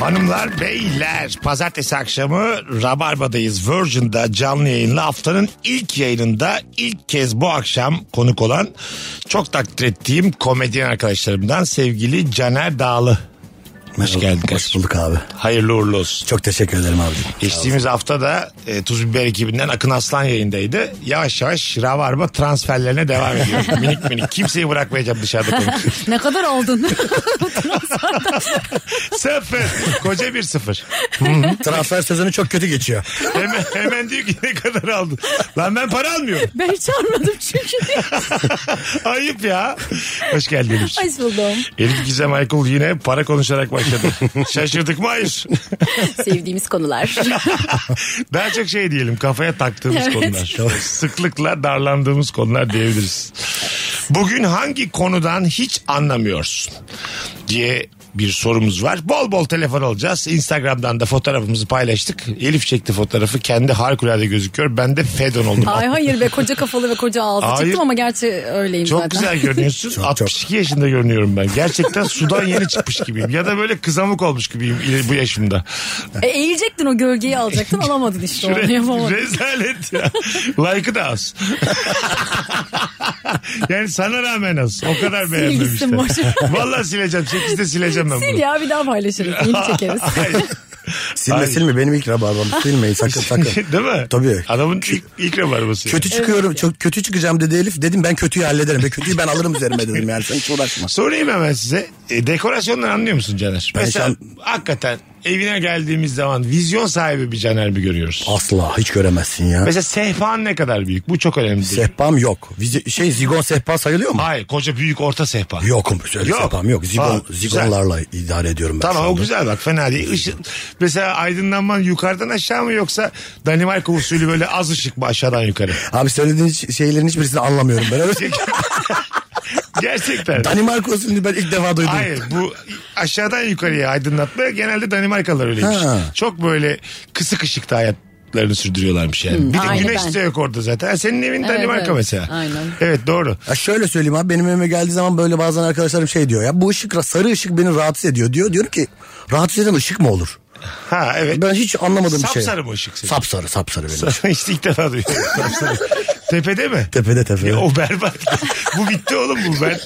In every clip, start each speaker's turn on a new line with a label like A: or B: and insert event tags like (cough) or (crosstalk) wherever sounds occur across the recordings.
A: Hanımlar, beyler, pazartesi akşamı Rabarba'dayız. Virgin'da canlı yayınlı haftanın ilk yayınında ilk kez bu akşam konuk olan çok takdir ettiğim komedyen arkadaşlarımdan sevgili Caner Dağlı. Hoş geldin
B: Hoş
A: kardeşim.
B: bulduk abi.
A: Hayırlı uğurlu olsun.
B: Çok teşekkür ederim abicim.
A: Geçtiğimiz hafta da e, Tuz Biber ekibinden Akın Aslan yayındaydı. Yavaş yavaş Rabarba transferlerine devam ediyor.
B: (laughs)
A: minik minik. Kimseyi bırakmayacağım dışarıda konuk. (laughs)
C: Ne kadar oldun?
A: sıfır. Koca bir sıfır.
B: Transfer sezonu çok kötü geçiyor.
A: Hemen, hemen diyor ki ne kadar aldın? Lan ben para almıyorum.
C: (laughs)
A: (laughs)
C: ben çağırmadım çünkü. (laughs)
A: Ayıp ya. Hoş geldiniz.
C: Hoş buldum.
A: Elif Gizem Aykul yine para konuşarak başladı. Şaşırdık mı? Hayır.
C: Sevdiğimiz konular.
A: Daha çok şey diyelim kafaya taktığımız
C: Evet.
A: konular. Sıklıkla darlandığımız konular diyebiliriz. Bugün hangi konudan hiç anlamıyorsun diye bir sorumuz var. Bol bol telefon alacağız. Instagram'dan da fotoğrafımızı paylaştık. Elif çekti fotoğrafı. Kendi harikulade gözüküyor. Ben de fedon oldum.
C: Ay hayır be koca kafalı ve koca ağzı
A: Hayır.
C: çıktım ama gerçi öyleyim
A: Çok
C: zaten.
A: güzel
C: (laughs)
A: görünüyorsun. 62 yaşında görünüyorum ben. Gerçekten sudan yeni çıkmış gibiyim. Ya da böyle kızamık olmuş gibiyim il- bu yaşımda.
C: E, eğilecektin o gölgeyi alacaktın alamadın işte onu
A: Re-
C: yapamadın.
A: rezalet ya. Like'ı da az. (laughs) yani sana rağmen az. O kadar beğendim
C: gitsin,
A: işte.
C: boş ver.
A: Vallahi sileceğim. 8'de sileceğim ben
C: Sil
A: bunu.
C: ya bir daha paylaşırız.
A: (laughs)
C: Yeni çekeriz.
A: Hayır.
B: Silme
A: Ay.
B: silme benim ilk rabarbam. Silmeyin (laughs) sakın
A: (laughs)
B: sakın.
A: Değil mi?
B: Tabii.
A: Adamın ilk, ilk rabarbası.
B: Kötü çıkıyorum. Çok kötü çıkacağım dedi Elif. Dedim ben kötüyü hallederim. Ben kötüyü ben alırım üzerime dedim yani. Sen hiç uğraşma.
A: Sorayım hemen size. E, dekorasyondan anlıyor musun Caner?
B: Ben
A: Mesela
B: şu an-
A: hakikaten evine geldiğimiz zaman vizyon sahibi bir Caner mi görüyoruz?
B: Asla hiç göremezsin ya.
A: Mesela sehpan ne kadar büyük? Bu çok önemli. değil.
B: Sehpam yok. Vize- şey zigon sehpa sayılıyor mu?
A: Hayır koca büyük orta sehpa.
B: Yok. Öyle
A: Yok.
B: sehpam yok. Zigon,
A: Ha, güzel.
B: zigonlarla idare ediyorum ben
A: Tamam
B: şu
A: o
B: anda.
A: güzel bak fena değil. Işık, mesela aydınlanman yukarıdan aşağı mı yoksa Danimarka usulü böyle az ışık mı aşağıdan
B: (laughs)
A: yukarı?
B: Abi söylediğin ş- şeylerin hiçbirisini anlamıyorum
A: (laughs)
B: ben. Öyle-
A: Gerçekten.
B: Danimarka usulünü ben ilk defa duydum.
A: Hayır bu aşağıdan yukarıya aydınlatma genelde Danimarkalılar öyleymiş.
B: Ha.
A: Çok böyle kısık ışıkta hayatlarını sürdürüyorlarmış yani. bir de
C: aynen
A: güneş
C: ben.
A: de yok orada zaten. Ha, Senin evin Danimarka
C: evet.
A: mesela.
C: Aynen.
A: Evet doğru.
B: Ya şöyle söyleyeyim abi benim evime geldiği zaman böyle bazen arkadaşlarım şey diyor ya bu ışık sarı ışık beni rahatsız ediyor diyor. Diyorum ki rahatsız eden ışık mı olur?
A: Ha evet.
B: Ben hiç anlamadım bir şey.
A: E, Sapsarı mı ışık senin?
B: Sapsarı sapsarı
A: (laughs)
B: benim.
A: işte ilk defa duyuyorum. Sapsarı. Tepede mi?
B: Tepede tepede.
A: Ya o berbat. (laughs) bu bitti oğlum bu. Ben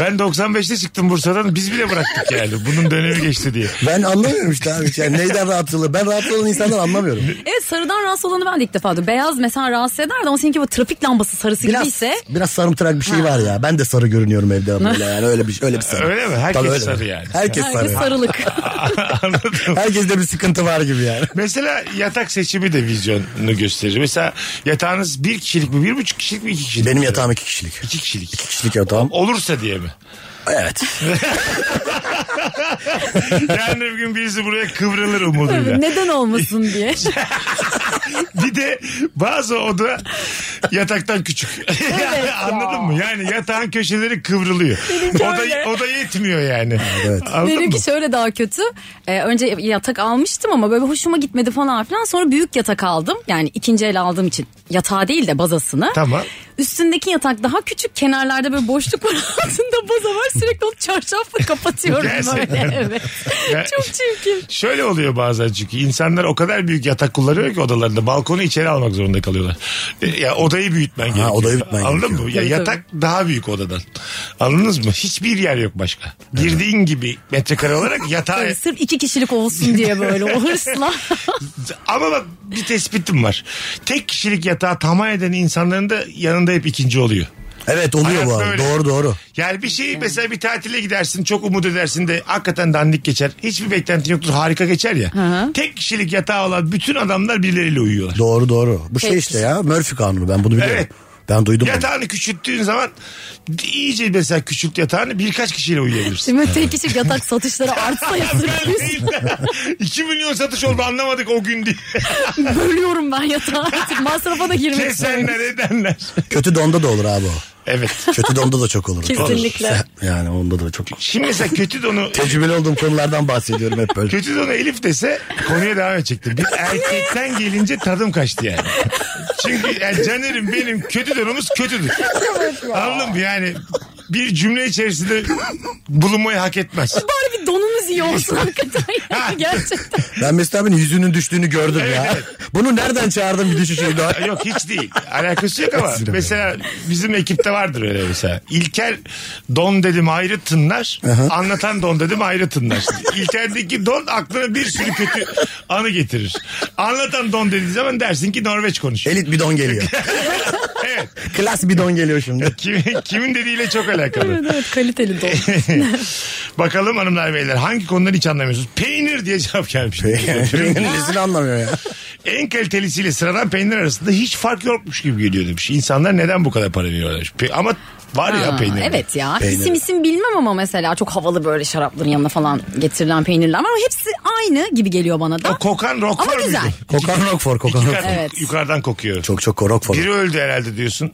A: ben 95'te çıktım Bursa'dan. Biz bile bıraktık yani. Bunun dönemi geçti diye. (laughs)
B: Ben anlamıyorum işte abi. Yani neyden rahatsız olur? Ben rahatsız olan insanları anlamıyorum.
C: Evet sarıdan rahatsız olanı ben de ilk defa duydum. Beyaz mesela rahatsız ederdi ama seninki bu trafik lambası sarısı
B: Biraz
C: gibiyse.
B: biraz sarımtırak bir şey var ya. Ben de sarı görünüyorum evde böyle yani öyle bir öyle bir sarı.
A: Öyle mi? Herkes
B: Tabii öyle.
A: sarı yani.
B: Herkes
C: Herkes
B: sarı.
A: (laughs)
C: sarılık.
A: Anladım.
B: Herkeste bir sıkıntı var gibi yani.
A: Mesela yatak seçimi de vizyonunu gösterir. Mesela yatağınız bir kişilik mi, bir buçuk kişilik mi, iki kişilik
B: Benim
A: mi?
B: yatağım iki kişilik.
A: İki kişilik.
B: İki kişilik yatağım.
A: Olursa diye mi?
B: Evet.
A: (laughs) Yarın bir gün birisi buraya kıvrılır umuduyla.
C: Neden olmasın diye.
A: Bir de bazı oda yataktan küçük.
C: (laughs) Evet ya.
A: (laughs) Anladın mı? Yani yatağın köşeleri kıvrılıyor.
C: Benimki öyle.
A: Oda, oda yetmiyor yani.
B: Evet.
A: Anladın mı?
C: Benimki şöyle daha kötü. Ee, önce yatak almıştım ama böyle hoşuma gitmedi falan filan. Sonra büyük yatak aldım. Yani ikinci el aldığım için. Yatağı değil de bazasını.
A: Tamam.
C: Üstündeki yatak daha küçük. Kenarlarda böyle boşluk var. (laughs) Altında baza var. Sürekli onu çarşafla
A: (laughs)
C: kapatıyorum
A: Gerçekten.
C: böyle. Evet.
A: Ya-
C: Çok çirkin.
A: Şöyle oluyor bazen çünkü insanlar o kadar büyük yatak kullanıyor ki odalarında balkonu içeri almak zorunda kalıyorlar. E, Ya odayı büyütmen gerekiyor.
B: odayı büyütmen
A: Anladın
B: gerekiyor.
A: mı? Ya
C: Tabii,
A: yatak daha büyük odadan. Anladınız mı? Hiçbir yer yok başka. Girdiğin gibi metrekare
C: (laughs)
A: olarak yatağa
C: Böyle sırf iki kişilik olsun diye böyle o
A: (laughs)
C: hırsla.
A: Ama bak bir tespitim var. Tek kişilik yatağı tamah eden insanların da yanında hep ikinci oluyor.
B: Evet oluyor
A: Hayat
B: bu arada.
A: böyle.
B: Doğru doğru.
A: Yani bir şeyi mesela bir tatile gidersin çok umut edersin de hakikaten dandik geçer. Hiçbir beklentin yoktur harika geçer ya. Tek kişilik yatağı olan bütün adamlar birileriyle uyuyorlar.
B: Doğru doğru. Bu şey
C: Peki.
B: işte ya Murphy kanunu ben bunu biliyorum.
A: Evet.
B: Ben duydum bunu.
A: Yatağını küçülttüğün zaman iyice mesela küçült yatağını birkaç kişiyle
C: (laughs)
A: uyuyabilirsin.
C: Şimdi tek kişilik yatak satışları artsa ya
A: Ben
C: sürekli
A: (laughs) değil de 2 milyon satış oldu anlamadık o gün diye.
C: bölüyorum ben yatağı artık masrafa da girmek istiyorum.
A: Kesenler edenler.
B: Kötü donda da olur abi o.
A: Evet.
B: Kötü de onda da çok olur.
C: (laughs) Kesinlikle.
B: Yani onda da çok.
A: Şimdi mesela kötü donu
B: Tecrübeli olduğum konulardan bahsediyorum
A: (laughs)
B: hep böyle.
A: kötü donu Elif dese konuya devam edecektim. Bir erkekten gelince tadım kaçtı yani. Çünkü yani Caner'in benim kötü donumuz kötüdür. Anladın mı yani? Bir cümle içerisinde bulunmayı hak etmez.
C: Bari bir donumuz iyi olsun hakikaten. yani gerçekten.
B: Ben Mesut abinin yüzünün düştüğünü gördüm
A: Evet,
B: ya.
A: evet.
B: (laughs) Bunu nereden çağırdın bir düşüşe daha?
A: Yok hiç değil. Alakası yok ama mesela bizim ekipte vardır öyle mesela. İlker don dedim ayrı tınlar. Anlatan don dedim ayrı tınlar. İlker'deki don aklına bir sürü kötü anı getirir. Anlatan don dediği zaman dersin ki Norveç konuşuyor.
B: Elit
A: (laughs)
B: bidon geliyor.
A: Evet.
B: Klas bidon geliyor
A: (laughs)
B: şimdi.
A: Kimin, kimin dediğiyle çok alakalı.
C: evet evet kaliteli don.
A: (laughs) Bakalım hanımlar beyler hangi konudan hiç anlamıyorsunuz? Peynir diye cevap gelmiş.
B: Birinin nesini anlamıyor ya.
A: en kalitelisiyle sıradan peynir arasında hiç fark yokmuş gibi geliyor demiş. İnsanlar neden bu kadar para veriyorlar? demiş. Pe- ama var ya
C: Ha,
A: peynir.
C: Evet ya.
B: Peynir.
C: İsim isim bilmem ama mesela çok havalı böyle şarapların yanına falan getirilen peynirler var ama hepsi aynı gibi geliyor bana da.
A: O kokan rocklar
C: Ama
A: mıydı?
C: güzel.
B: Kokan Rockford, kokan
A: Yukarı-
B: Rockford.
C: Evet.
A: Yukarıdan kokuyor.
B: Çok çok Rockford.
A: Biri öldü herhalde diyorsun.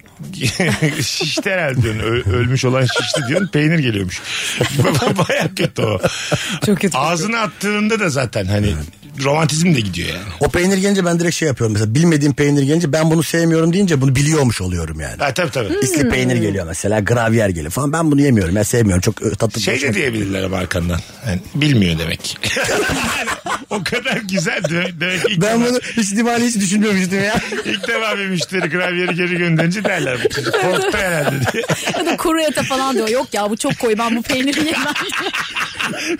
A: (laughs) şişti herhalde diyorsun. Ö- ölmüş olan şişti diyorsun. Peynir geliyormuş. (laughs) Baya kötü o.
C: Çok kötü.
A: Ağzına attığında da zaten hani romantizm de gidiyor yani.
B: O peynir gelince ben direkt şey yapıyorum mesela bilmediğim peynir gelince ben bunu sevmiyorum deyince bunu biliyormuş oluyorum yani.
A: Ha, tabii tabii.
B: İsli peynir geliyor mesela gravyer geliyor falan ben bunu yemiyorum ya sevmiyorum çok ö, tatlı.
A: Şey de diyebilirler ama arkandan. Yani bilmiyor demek. Yani (laughs) o kadar güzel de- demek ilk
B: Ben
A: defa-
B: bunu hiç ihtimalle hiç düşünmemiştim ya.
A: İlk defa bir müşteri gravyeri geri gönderince derler bu çocuk. Korktu herhalde diye. (laughs)
C: Ya da kuru ete falan diyor. Yok ya bu çok koyu ben bu peyniri
B: (laughs)
C: yemem.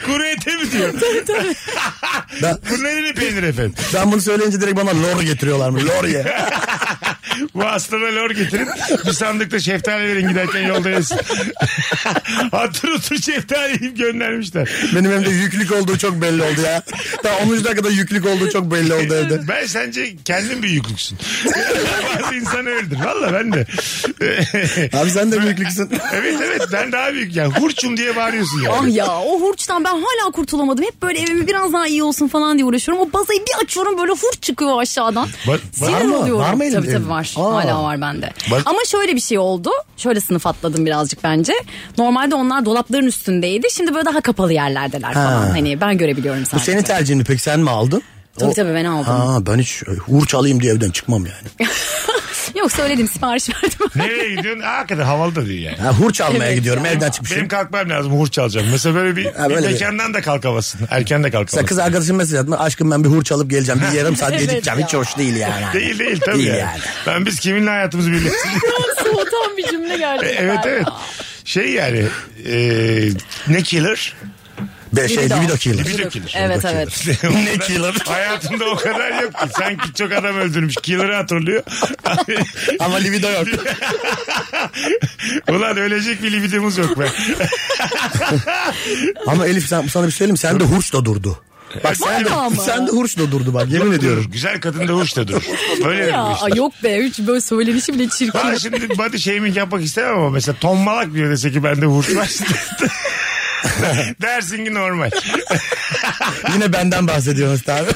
A: Kuru ete mi diyor?
B: Ben-
A: Bu nerenin peynir efendim?
B: (laughs) Ben bunu söyleyince direkt bana lor getiriyorlar mı? Lor ye.
A: Bu hastalığa lor getirin. Bir sandıkta şeftali verin giderken yolda yesin. (laughs) Hatır otur şeftali yiyip göndermişler.
B: Benim evde yüklük olduğu çok belli oldu ya. Daha 10. dakikada yüklük olduğu çok belli oldu evde.
A: Ben sence kendin bir yüklüksün. (laughs) Bazı insanı öldür. Valla ben de.
B: Abi sen de mi yüklüksün?
A: evet evet ben daha büyük. Yani hurçum diye bağırıyorsun yani.
C: ah ya o hurçtan ben hala kurtulamadım. Hep böyle evimi biraz daha iyi olsun falan diye uğraşıyorum. O bazayı bir açıyorum böyle hurç çıkıyor aşağıdan.
A: Var-
C: Sinir
B: var mı?
C: oluyorum.
B: Var mı elin-
C: Tabii
B: elin?
C: tabii var.
B: Aa.
C: Hala var bende.
A: Bak-
C: Ama şöyle bir şey oldu. Şöyle sınıf atladım birazcık bence. Normalde onlar dolapların üstündeydi. Şimdi böyle daha kapalı yerlerdeler falan.
B: Ha.
C: Hani ben görebiliyorum
B: Bu
C: sadece.
B: senin tercihini pek sen mi aldın?
C: Tabii tabii, ben aldım.
B: Ha, ben hiç e, hurç alayım diye evden çıkmam yani.
C: Yok söyledim sipariş (laughs) verdim.
A: Nereye gidiyorsun? Aa, Hakikaten havalı da değil yani.
B: Ha, hurç almaya
C: Evet
B: gidiyorum
C: ya.
B: evden çıkmışım.
A: Benim kalkmam lazım hurç alacağım. Mesela böyle bir,
B: Ha,
A: bir
B: böyle bir-
A: mekandan da kalkamazsın. Erken de
B: Mesela
A: kalkamazsın.
B: kız arkadaşım mesaj atma aşkım ben bir hurç alıp geleceğim
A: (laughs)
B: bir yarım saat
C: Evet
B: gecikeceğim hiç hoş değil yani.
A: Değil değil tabii
B: Değil
A: yani.
B: yani.
A: Ben biz kiminle hayatımızı birleştirdik.
B: (laughs)
C: Soğutan bir cümle geldi.
A: evet evet. Şey yani e, ne killer?
B: Be, şey
C: Libido.
B: libido killer.
A: Libido killer.
C: Evet evet.
B: (laughs) ne killer?
A: (laughs) Hayatımda o kadar yok ki. Sanki çok adam öldürmüş. Killer'ı hatırlıyor. (laughs)
B: Ama libido yok.
A: Ulan ölecek bir libidimiz yok be.
B: (laughs) Ama Elif sen, sana bir şey söyleyeyim mi? sen de hurçla durdu. Bak sen de,
C: Valla ama.
B: sen de hurçla durdu bak yemin ediyorum.
A: Güzel kadın da hoş da durur. Böyle
C: Ya,
A: demişler.
C: yok be hiç böyle söylenişi bile çirkin.
A: Ben şimdi body shaming yapmak istemem ama mesela tombalak biri dese ki bende hurç
B: (laughs)
A: var. Dersin ki normal.
B: Yine benden bahsediyorsunuz abi.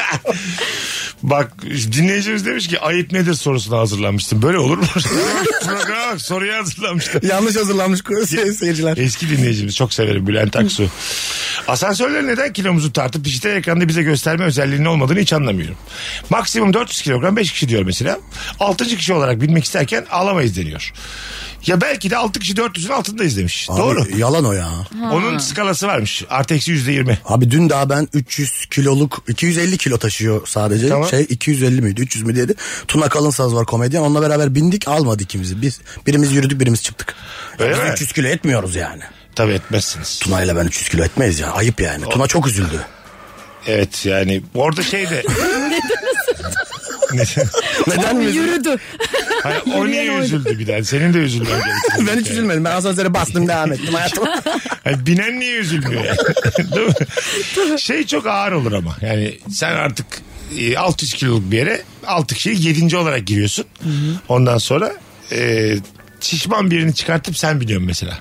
B: (laughs)
A: Bak dinleyicimiz demiş ki ayıp nedir sorusuna hazırlanmıştım. Böyle olur mu? (laughs) Programa bak soruya hazırlanmıştım.
B: Yanlış hazırlanmış se- seyirciler.
A: Eski dinleyicimiz çok severim Bülent Aksu. Asansörler neden kilomuzu tartıp dijital ekranda bize gösterme özelliğinin olmadığını hiç anlamıyorum. Maksimum 400 kilogram 5 kişi diyor mesela. 6. kişi olarak binmek isterken alamayız deniyor. Ya belki de 6 kişi 400'ün altındayız demiş.
B: Abi,
A: Doğru.
B: Yalan o ya.
A: Onun skalası varmış. Artı eksi yüzde yirmi.
B: Abi dün daha ben 300 kiloluk 250 kilo taşıyor sadece.
A: Tamam.
B: Şey 250 miydi 300 mü dedi. Tuna Kalınsaz var komedyen. Onunla beraber bindik almadı ikimizi. Biz birimiz yürüdük birimiz çıktık.
A: Öyle
B: Biz
A: mi?
B: 300 kilo etmiyoruz yani.
A: Tabii etmezsiniz.
B: Tuna ile ben 300 kilo etmeyiz ya. Ayıp yani. Tuna çok üzüldü.
A: Evet yani orada şey de
B: Neden mi? üzüldü?
C: Yürüdü.
A: Hayır, o niye
C: oydu.
A: üzüldü bir daha? Senin de
B: (laughs)
A: üzülmen gerekiyor.
B: Ben hiç üzülmedim. Ben asansöre bastım devam ettim hayatıma.
A: Hayır, binen niye üzülmüyor yani? (laughs) Değil mi? Şey çok ağır olur ama. Yani sen artık e, 600 kiloluk bir yere 6 kişi 7. olarak giriyorsun. Ondan sonra e, şişman birini çıkartıp sen biniyorsun mesela.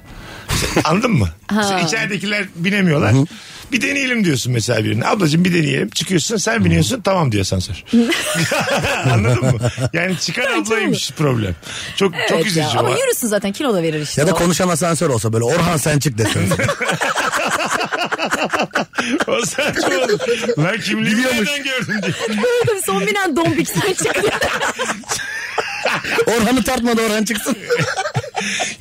A: Anladın
C: (laughs)
A: mı? Sen İçeridekiler binemiyorlar. Bir deneyelim diyorsun mesela birine. Ablacığım bir deneyelim. Çıkıyorsun sen biniyorsun tamam diyor asansör. (laughs) Anladın mı? Yani çıkan ablaymış problem. Çok çok
C: Evet ya,
A: üzücü.
C: Ama
A: o.
C: yürüsün zaten kilo da verir işte.
B: Ya da
C: o.
B: konuşan asansör olsa böyle Orhan sen çık desin.
A: (laughs) O saçma
C: (laughs)
A: olur. Lan kimliği nereden gördün diye.
C: Tabii (laughs) son binen dombik sen çıktı.
B: Orhan'ı tartmadı Orhan çıksın.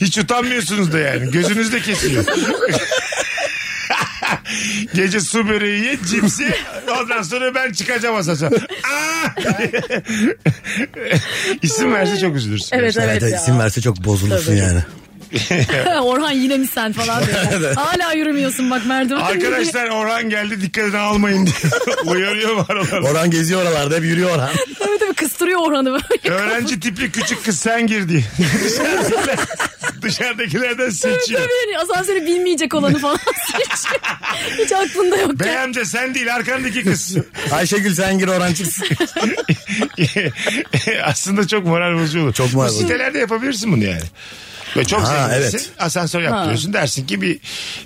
A: Hiç utanmıyorsunuz da yani. Gözünüz de kesiyor. (laughs) Gece su böreği ye, cipsi. Ondan sonra ben çıkacağım asansör. Aa! (laughs) İsim verse çok üzülürsün.
C: evet evet
B: Evet,
C: ya.
B: isim verse çok bozulursun
C: Tabii.
B: yani.
C: (laughs) Orhan yine mi sen falan diyor. Hala yürümüyorsun bak merdiven.
A: Arkadaşlar Orhan geldi dikkatini almayın diye (laughs) uyarıyor var olan.
B: Orhan geziyor oralarda hep yürüyor Orhan.
C: tabii tabii kıstırıyor Orhan'ı böyle.
A: Öğrenci tipli küçük kız sen gir diye. (laughs) Dışarıdakiler, dışarıdakilerden seçiyor.
C: (laughs) Tabii yani asansörü bilmeyecek olanı falan (laughs) seçiyor. Hiç aklında yok.
A: Bey amca sen değil arkandaki kız.
B: Ayşegül sen gir Orhan çıksın.
A: (laughs) Aslında çok moral bozucu olur.
B: Çok moral
A: Bu
B: bozucu.
A: sitelerde yapabilirsin bunu yani. Ve çok
B: Ha,
A: zenginsin.
B: evet.
A: Asansör yaptırıyorsun. Dersin ki bir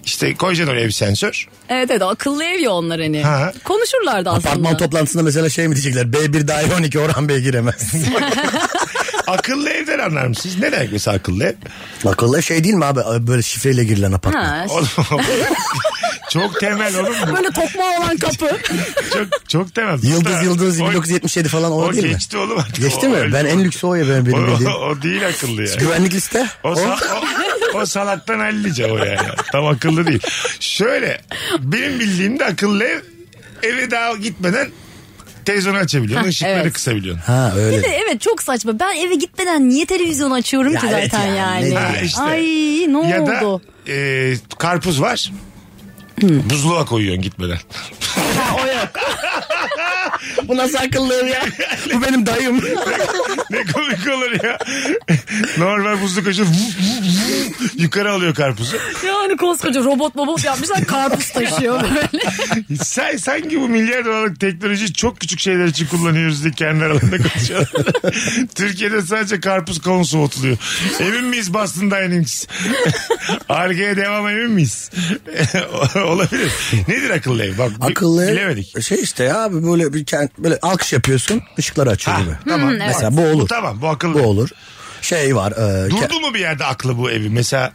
A: işte koyacaksın oraya bir sensör.
C: Evet evet akıllı ev ya onlar hani.
A: Ha.
C: Konuşurlardı aslında.
B: Apartman toplantısında mesela şey mi diyecekler? B1 daire 12 E Orhan Bey giremez.
A: Akıllı evden anlar mısınız? Ne demek mesela akıllı ev?
B: Akıllı şey değil mi abi? Böyle şifreyle girilen apartman.
C: Ha,
A: Oğlum, (laughs) çok temel oğlum. (laughs) bu.
C: böyle tokma olan kapı.
A: Çok, çok temel.
B: Yıldız Yıldız
A: O-
B: 1977 falan o,
A: O
B: değil mi?
A: geçti oğlum artık.
B: Geçti
A: O-
B: mi? Ben en lüksü o ya benim,
A: O,
B: benim
A: o,
B: bildiğim.
A: o değil akıllı yani.
B: Güvenlik liste.
A: O,
B: O,
A: sa- o, o salaktan hallice o yani. Tam akıllı değil. Şöyle benim bildiğim de akıllı ev eve daha gitmeden televizyonu açabiliyorsun.
C: Hah,
A: ışıkları
C: evet.
A: kısabiliyorsun.
B: Ha
C: Bir de
B: öyle.
C: evet çok saçma. Ben eve gitmeden niye televizyon açıyorum
B: Ya
C: ki
B: evet
C: zaten
B: ya, ne
C: yani.
B: diyor?
A: Ha, işte.
C: Ay ne
A: ya
C: oldu?
A: da e, karpuz var. Buzluğa koyuyorsun gitmeden. (laughs)
B: Bu nasıl akıllı ev ya? Bu benim dayım.
A: ne komik olur ya. Normal buzluk açıyor. vuv, vuv, vuv, Yukarı alıyor karpuzu.
C: Yani koskoca robot robot yapmışlar (laughs) karpuz taşıyor böyle.
A: Sen, sanki bu milyar dolarlık teknolojiyi çok küçük şeyler için kullanıyoruz diye kendi aralarında (laughs) konuşuyorlar. Türkiye'de sadece karpuz kavun soğutuluyor. Emin miyiz Boston Dynamics? Arkaya devam emin miyiz? (laughs) Olabilir. Nedir akıllı ev? Bak, bi-
B: Akıllı
A: Bilemedik.
B: ev şey işte ya abi böyle bir kent böyle alkış yapıyorsun ışıkları açıyor
A: Ha,
B: gibi.
A: tamam. Hmm, evet.
B: Mesela bu olur.
A: Tamam bu akıllı.
B: Bu olur. Şey var. E, ke-
A: Durdu mu bir yerde aklı bu evi? Mesela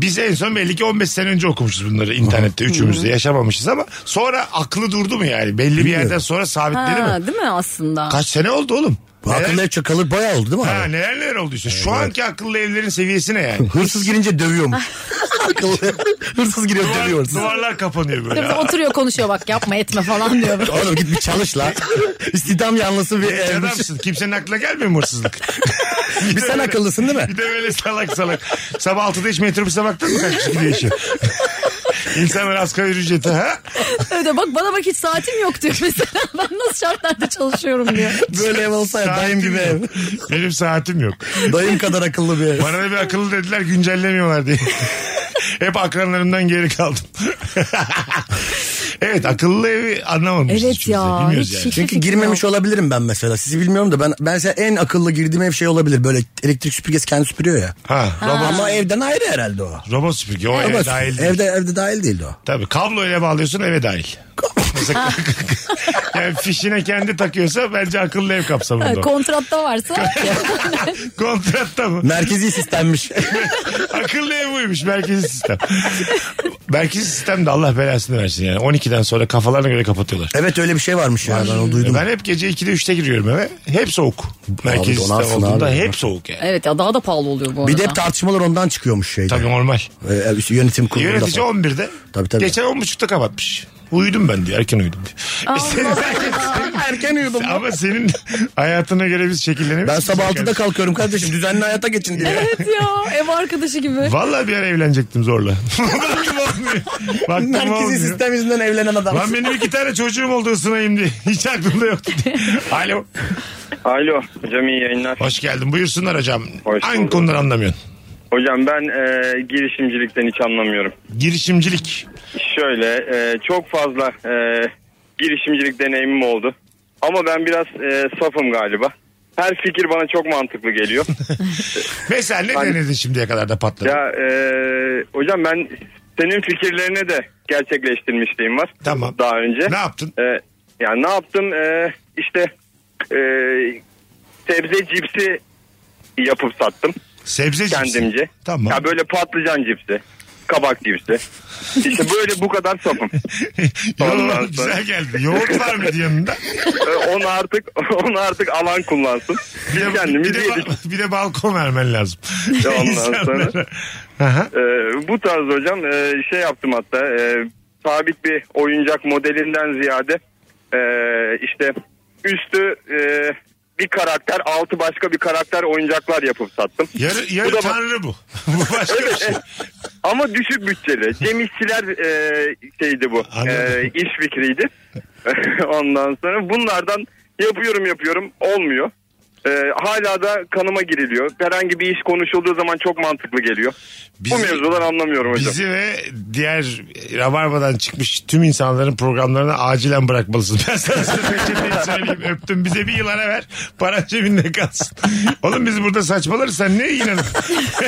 A: biz en son belli ki 15 sene önce okumuşuz bunları internette üçümüzde yaşamamışız ama sonra aklı durdu mu yani? Belli bir yerden sonra sabitledi mi?
C: Ha, değil mi aslında?
A: Kaç sene oldu oğlum?
B: bu akıllı ev çakalı bayağı oldu değil mi
A: Ha
B: abi?
A: neler neler oldu işte. Şu anki akıllı evlerin seviyesine
B: (laughs)
A: yani.
B: Hırsız girince dövüyorum.
A: (laughs)
B: akıllı ev. Hırsız giriyor
A: Duvar-
B: dövüyor. hırsız.
A: duvarlar kapanıyor böyle.
C: Tabii oturuyor konuşuyor bak yapma etme falan diyor. böyle.
B: Oğlum git bir çalış
A: (laughs)
B: lan. İstihdam yanlısı bir
A: Genç
B: evmiş.
A: adamsın. Kimsenin aklına gelmiyor mu hırsızlık?
B: (laughs) Bir sen akıllısın değil mi?
A: Bir de böyle salak salak. Sabah 6'da hiç metrobüse baktın
B: (laughs)
A: mı şey kaç kişi gidiyor işe? (laughs) İnsanlar asgari ücreti ha?
C: Evet, diyor, bak bana bak hiç saatim yok diyor mesela. (laughs) Ben nasıl şartlarda çalışıyorum diyor.
B: Böyle ev olsa ya, dayım
A: Saatim
B: gibi ev.
A: yok. (laughs) Benim saatim yok.
B: Dayım kadar akıllı bir ev.
A: Bana da bir akıllı dediler güncellemiyorlar
B: (laughs)
A: diye. Hep akranlarımdan geri kaldım. (laughs) evet akıllı evi anlamamışız.
C: Evet
A: hiçbirisi.
C: ya,
A: şey Bilmiyoruz
C: hiç- şey
A: yani.
C: hiç-
B: Çünkü
C: fikrim
B: girmemiş olabilirim ben mesela. Sizi bilmiyorum da ben ben mesela en akıllı girdiğim ev şey olabilir. Böyle elektrik süpürgesi kendi süpürüyor ya.
A: Ha, robot,
B: Ama evden ayrı herhalde o.
A: robot süpürge o
B: Ama
A: eve dahil değil.
B: Evde evde dahil değildi o.
A: Tabii kablo ile bağlıyorsun eve dahil. Mesela- (laughs) yani fişine kendi takıyorsa bence akıllı ev
C: Ha,
A: kapsamında. o.
C: kontratta varsa
A: Kontratta mı?
B: Merkezi sistemmiş.
A: (laughs) akıllı ev buymuş merkezi sistem. merkezi sistem de Allah belasını versin yani. 12'den sonra kafalarına göre kapatıyorlar.
B: (laughs) evet öyle bir şey varmış ya ben onu duydum.
A: Ben hep gece 2'de 3'te giriyorum eve. Hep soğuk. Merkezi sistem
B: donarsın
A: olduğunda
B: abi.
A: hep soğuk yani.
C: (laughs) Evet ya daha da pahalı oluyor bu arada.
B: Bir de hep tartışmalar ondan çıkıyormuş şeyde.
A: Tabii normal.
B: Ee, ev- yönetim kurulunda
A: Yönetici
B: falan.
A: 11'de.
B: Tabii, tabii.
A: Geçen 10.30'da kapatmış. Uyudum ben diyor. Erken uyudum diyor.
B: Erken uyudum.
A: (laughs) Ama senin hayatına göre biz şekillenemiyoruz.
B: Ben sabah 6'da kalkıyorum kardeşim düzenli hayata geçin diye.
C: Evet ya ev arkadaşı gibi.
A: Valla bir ara evlenecektim zorla. (laughs) Vaktim olmuyor. Vaktim
B: Merkezi
A: olmuyor.
B: sistem yüzünden evlenen adam.
A: Lan benim iki tane çocuğum oldu ısınayım diye. (laughs) Hiç aklımda
B: (laughs)
A: yoktu diye. Alo.
D: Alo hocam iyi yayınlar.
A: Hoş geldin. Buyursunlar hocam.
D: Hoş
A: Hangi
D: bulduk.
A: konudan anlamıyorsun?
D: Hocam ben e, girişimcilikten hiç anlamıyorum.
A: Girişimcilik.
D: Şöyle e, çok fazla e, girişimcilik deneyimim oldu. Ama ben biraz e, safım galiba. Her fikir bana çok
A: (laughs)
D: mantıklı geliyor.
A: Mesela ne
D: Ben-
A: denedin şimdiye kadar da patladı?
D: ya e, hocam ben senin fikirlerine de gerçekleştirmişliğim var.
A: Tamam.
D: Daha önce.
A: Ne yaptın?
D: E, yani ne yaptım? E, işte e, sebze cipsi yapıp sattım.
A: Sebze cipsi.
D: kendimce.
A: Tamam.
D: Ya böyle patlıcan cipsi, kabak cipsi. İşte böyle bu kadar
A: (laughs)
D: sapım.
A: (laughs)
D: Ondan
A: Yoğurt
D: sonra-
A: güzel geldi. Yoğurt var mıydı yanında?
D: Ee, onu artık (laughs) onu artık alan kullansın.
A: Bir
D: Biz
A: de,
D: (laughs) kendimiz
A: bir de,
D: yedik.
A: ba- (laughs) bir de balkon vermen lazım.
D: Ya
A: (laughs)
D: ondan
A: İnsanlara.
D: sonra-
A: Aha.
D: Ee, bu tarz hocam e, şey yaptım hatta e, sabit bir oyuncak modelinden ziyade e, işte üstü e, bir karakter altı başka bir karakter oyuncaklar yapıp sattım.
A: Yarı,
D: Bu
A: yarı
D: da-
A: tanrı bu. (laughs) bu başka
D: (laughs)
A: bir şey.
D: Ama düşük bütçeli. Cem İşçiler e, şeydi bu.
A: Anladım.
D: E, iş fikriydi. (laughs) Ondan sonra bunlardan yapıyorum yapıyorum olmuyor. E, hala da kanıma giriliyor. Herhangi bir iş konuşulduğu zaman çok mantıklı geliyor.
A: Bizi-
D: bu mevzudan anlamıyorum hocam.
A: Bizi ve diğer Rabarba'dan çıkmış tüm insanların programlarını acilen bırakmalısın. Ben sana sözleşmeyi söyleyeyim. Öptüm. Bize bir yıl ara ver. Para cebinde kalsın. Oğlum biz burada saçmalarız. Sen ne inanın? (laughs)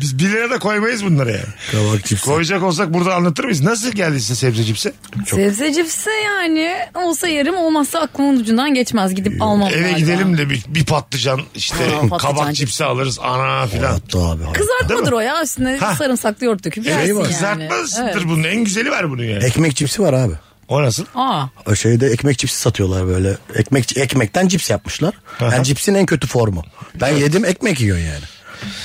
A: biz 1 lira da koymayız bunlara yani.
B: Kabak cipsi.
A: Koyacak olsak burada anlatır mıyız? Nasıl geldi size sebze cipsi?
C: Sebze cipsi yani olsa yerim olmazsa aklımın ucundan geçmez gidip almam
A: Eve
C: galiba.
A: gidelim de bir, bir patlıcan işte
C: Aa, patlıcan
A: kabak
C: cipsi.
A: cipsi alırız. Ana filan.
B: Hatta abi.
C: Kızartmadır o ya üstüne
A: Ha. Şey
C: sarımsaklı yoğurt döküp yersin yani.
A: Kızartmasıdır
C: Evet.
A: bunun. En güzeli var bunun yani.
B: Ekmek cipsi var abi.
A: O nasıl? (laughs)
C: Aa,
B: O şeyde ekmek cipsi satıyorlar böyle. Ekmek ekmekten cips yapmışlar.
A: Aha.
B: Yani cipsin en kötü formu. Ben yedim ekmek yiyor yani.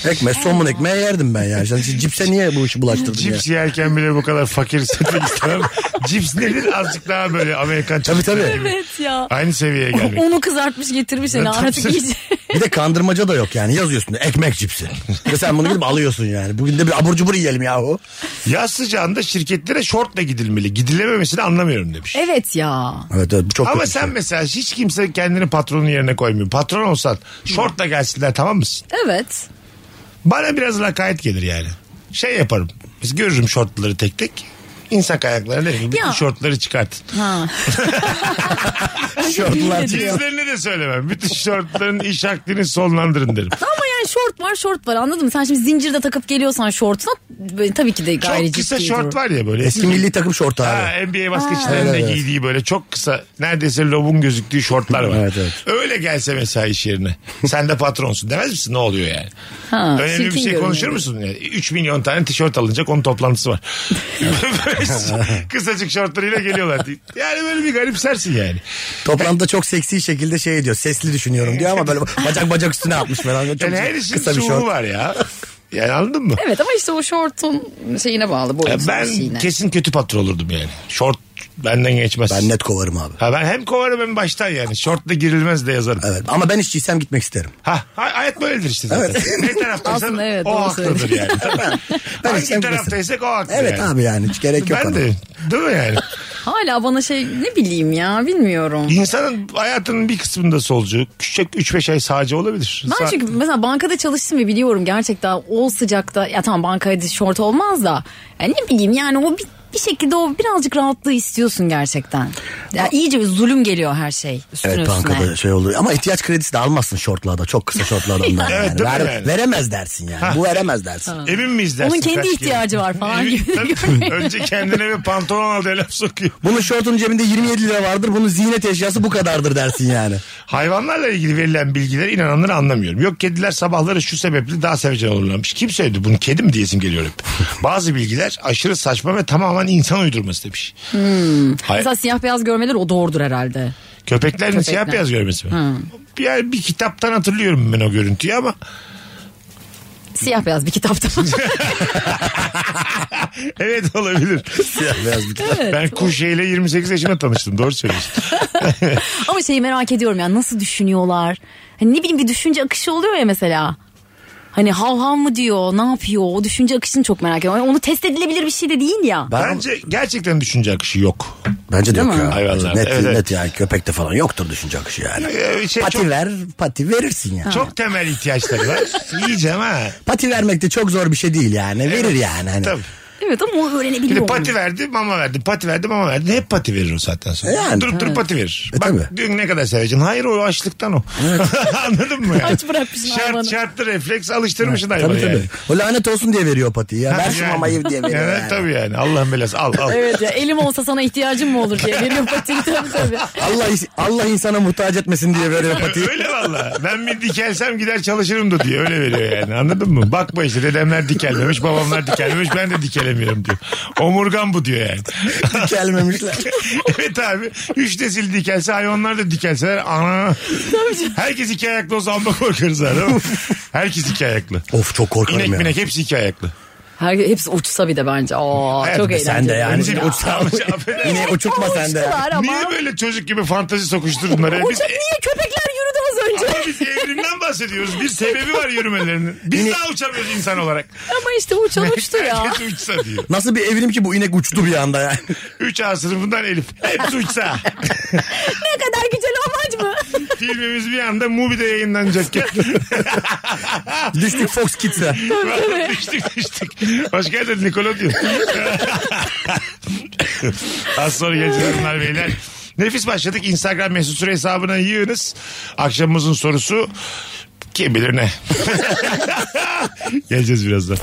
B: Ekmek somun ekmeği yerdim ben yani. Sen cipse niye bu işi bulaştırdın
A: Cips
B: ya?
A: yerken bile bu kadar fakir hissetmek istemem. (laughs) Cips nedir? Azıcık daha böyle Amerikan
B: Tabii
A: çocukları
B: tabii.
A: gibi.
C: evet ya. (laughs)
A: Aynı seviyeye gelmek.
C: Onu kızartmış getirmiş yani
A: Ya, tabii. (laughs)
C: artık iyice.
B: Bir de kandırmaca da yok yani. Yazıyorsun ekmek cipsi. Ve sen bunu gidip alıyorsun yani. Bugün de bir abur cubur yiyelim yahu.
A: Yaz sıcağında şirketlere şortla gidilmeli. Gidilememesini anlamıyorum demiş.
C: evet ya.
B: Evet evet bu çok
A: Ama
B: kötü
A: sen
B: bir şey.
A: mesela hiç kimse kendini patronun yerine koymuyor. Patron olsan şortla gelsinler tamam mısın?
C: Evet.
A: Bana biraz lakayt gelir yani. Şey yaparım. Biz görürüm şortları tek tek. İnsan ayakları ne bileyim, bütün
C: Ya.
A: şortları çıkart. (laughs)
C: Ha.
B: şey. Şortlar çıkıyor.
A: Cinslerini de söylemem. Bütün şortların iş akdini sonlandırın derim.
C: Ama yani şort var şort var anladın mı? Sen şimdi zincirde takıp geliyorsan şortuna böyle tabii ki de gayri
A: Çok kısa
C: ciddi
A: şort
C: durur.
A: var ya böyle.
B: Eski milli takım şortu abi.
A: Ha, e, NBA basketçilerin de
B: Evet, evet.
A: giydiği böyle çok kısa neredeyse lobun gözüktüğü şortlar var.
B: Evet, evet.
A: Öyle gelse mesela iş yerine. Sen de patronsun demez misin ne oluyor yani?
C: Ha,
A: Önemli bir
C: çirkin
A: şey konuşur
C: görünüyor.
A: musun? Yani 3 milyon tane tişört alınacak onun toplantısı var. Böyle (laughs) Kısacık şortlarıyla geliyorlar. Yani böyle bir garipsersin yani.
B: Toplantıda çok seksi şekilde şey diyor. Sesli düşünüyorum diyor ama böyle bacak bacak üstüne atmış falan.
A: (laughs)
B: Çok
A: Yani her işin
B: kısa bir
A: çubuğu
B: şort.
A: var ya. Yani anladın mı?
C: Evet ama işte o şortun şeyine bağlı.
A: Ya
C: boyutuna,
A: ben
C: şeyine.
A: kesin kötü patron olurdum yani. Şort benden geçmez.
B: Ben net kovarım abi.
A: Ha ben hem kovarım hem baştan yani. Şortla girilmez de yazarım.
B: Evet ama ben işçiysem gitmek isterim.
A: Ha, hay- hayat böyledir işte zaten.
B: Evet.
A: Ne taraftaysan
C: Aslında evet,
A: o
C: doğru
A: haklıdır yani.
C: söylüyorsun.
B: (laughs) Ben
A: Hangi
B: işçiyim,
A: taraftaysak o haklı
B: Evet
A: yani.
B: abi yani hiç gerek yok.
A: Ben
B: ona.
A: de değil mi yani?
C: Hala bana şey ne bileyim ya bilmiyorum.
A: İnsanın hayatının bir kısmında solcu, küçük 3-5 ay sağcı olabilir.
C: Ben
A: Sa-
C: çünkü mesela bankada çalıştım ve biliyorum gerçekten o sıcakta ya tamam bankada şort olmaz da ya ne bileyim yani o bir, bir şekilde o birazcık rahatlığı istiyorsun gerçekten. Ya iyice bir zulüm geliyor her şey üstüne
B: Evet
C: üstüne.
B: bankada şey olur. Ama ihtiyaç kredisi de almazsın şortlarda. Çok kısa şortlardan. yani.
A: Evet, değil mi yani?
B: Veremez dersin yani. Bu veremez dersin.
A: Emin miyiz dersin?
C: Onun kendi
A: kaç kere?
C: ihtiyacı var falan
A: Emin-
C: gibi.
A: Tabii. Önce kendine bir pantolon al diye laf sokuyor.
B: Bunun şortunun cebinde 27 lira vardır. Bunun ziynet eşyası bu kadardır dersin yani.
A: Hayvanlarla ilgili verilen bilgilere inananları anlamıyorum. Yok kediler sabahları şu sebeple daha sevecen olurlarmış. Kim söyledi bunu kedi mi diyesim geliyor
B: (laughs)
A: hep. Bazı bilgiler aşırı saçma ve tamamen insan uydurması demiş. Hayır.
C: Hmm. Mesela siyah beyaz görmeler o doğrudur herhalde.
A: Köpeklerin
C: Köpekler. Hmm.
A: siyah beyaz görmesi mi? Yani bir kitaptan hatırlıyorum ben o görüntüyü ama (laughs)
C: Siyah beyaz
B: (laughs)
C: bir kitapta.
A: evet
B: (laughs)
A: olabilir.
B: Beyaz bir kitap.
C: Evet.
A: ben Kuşe ile 28 yaşında tanıştım doğru
B: (laughs)
A: söylüyorsun.
C: Ama şeyi merak ediyorum ya nasıl düşünüyorlar? Hani ne bileyim bir düşünce akışı oluyor ya mesela. Hani hav hav mı diyor, ne yapıyor? O düşünce akışını çok merak ediyorum. Yani Onu test edilebilir bir şey de değil ya.
A: Bence gerçekten düşünce akışı yok.
B: Bence de
C: Değil
B: yok
C: mi?
B: ya.
A: Hayvanlar,
B: Net,
A: evet, evet.
B: net yani köpekte falan yoktur düşünce akışı yani.
A: Ee, şey
B: pati
A: çok-
B: ver pati verirsin yani.
A: Çok temel ihtiyaçları var. Yiyeceğim ha.
B: Pati vermek de çok zor bir şey değil yani. Verir yani. Hani.
A: Tabii.
C: Evet ama o
A: Bir
C: öğrenebiliyor.
A: de
C: onu.
A: pati verdi mama verdi pati verdi mama verdi hep pati verir o saatten sonra.
B: E yani.
A: durup durup pati verir.
B: E
A: Bak
B: tabii.
A: dün ne kadar seveceksin. Hayır o açlıktan o. (laughs) Anladın mı? Yani?
C: Aç bırakmışsın hayvanı.
A: Şart, şartlı refleks alıştırmışsın hayvanı
B: Tabii
A: yani.
B: tabii. O lanet olsun diye veriyor patiyi ya. Ver şu
A: Yani.
B: mamayı diye veriyor.
A: Evet
B: yani.
A: tabii yani. Allah'ın belası al al.
C: Evet ya elim olsa sana ihtiyacım mı olur diye veriyor patiyi tabii tabii.
B: Allah Allah insana muhtaç etmesin diye veriyor patiyi.
A: Öyle valla. Ben bir dikelsem gider çalışırım da diye öyle veriyor yani. Anladın mı? Bakma işte dedemler dikelmemiş, babamlar dikelmemiş. Ben de dikelemiyorum diyor. Omurgan bu diyor
C: (laughs)
A: yani.
B: Gelmemişler.
A: (laughs) evet abi. Üç nesil dikelse hayvanlar da dikelseler ana. Herkes iki ayaklı olsa amma korkarız ha değil mi? Herkes iki ayaklı.
B: of çok korkarım
A: İnek
B: ya.
A: minek hepsi iki ayaklı.
C: Her, hepsi uçsa bir de bence. Aa,
A: Evet,
C: çok
A: sen
C: eğlenceli.
B: Sen de yani.
A: Bizi bir
B: Uçsam.
A: uçsam- affedersin.
B: Yine uçurtma sen de. yani.
C: Uçtular ama.
A: Niye böyle çocuk gibi fantezi sokuşturdun oraya? Biz,
C: Uçak niye köpekler yürüdü az önce?
A: Ama biz evrimden bahsediyoruz. Bir sebebi var yürümelerinin. Biz daha uçamıyoruz insan olarak.
C: ama işte uçan uçtu
A: (laughs)
C: ya.
A: Herkes uçsa diyor.
B: Nasıl bir evrim ki bu inek uçtu bir anda yani.
A: 3A sınıfından Elif. Hepsi uçsa.
C: ne kadar güzel amaç mı?
A: Filmimiz bir anda Mubi'de yayınlanacakken.
B: (laughs) Düştük Fox Kids'e.
A: düştük düştük. Hoş geldin Nickelodeon. Az sonra geleceğiz hanımlar beyler. Nefis başladık. Instagram mesut süre hesabına yığınız. Akşamımızın sorusu kim bilir ne. (laughs) geleceğiz birazdan.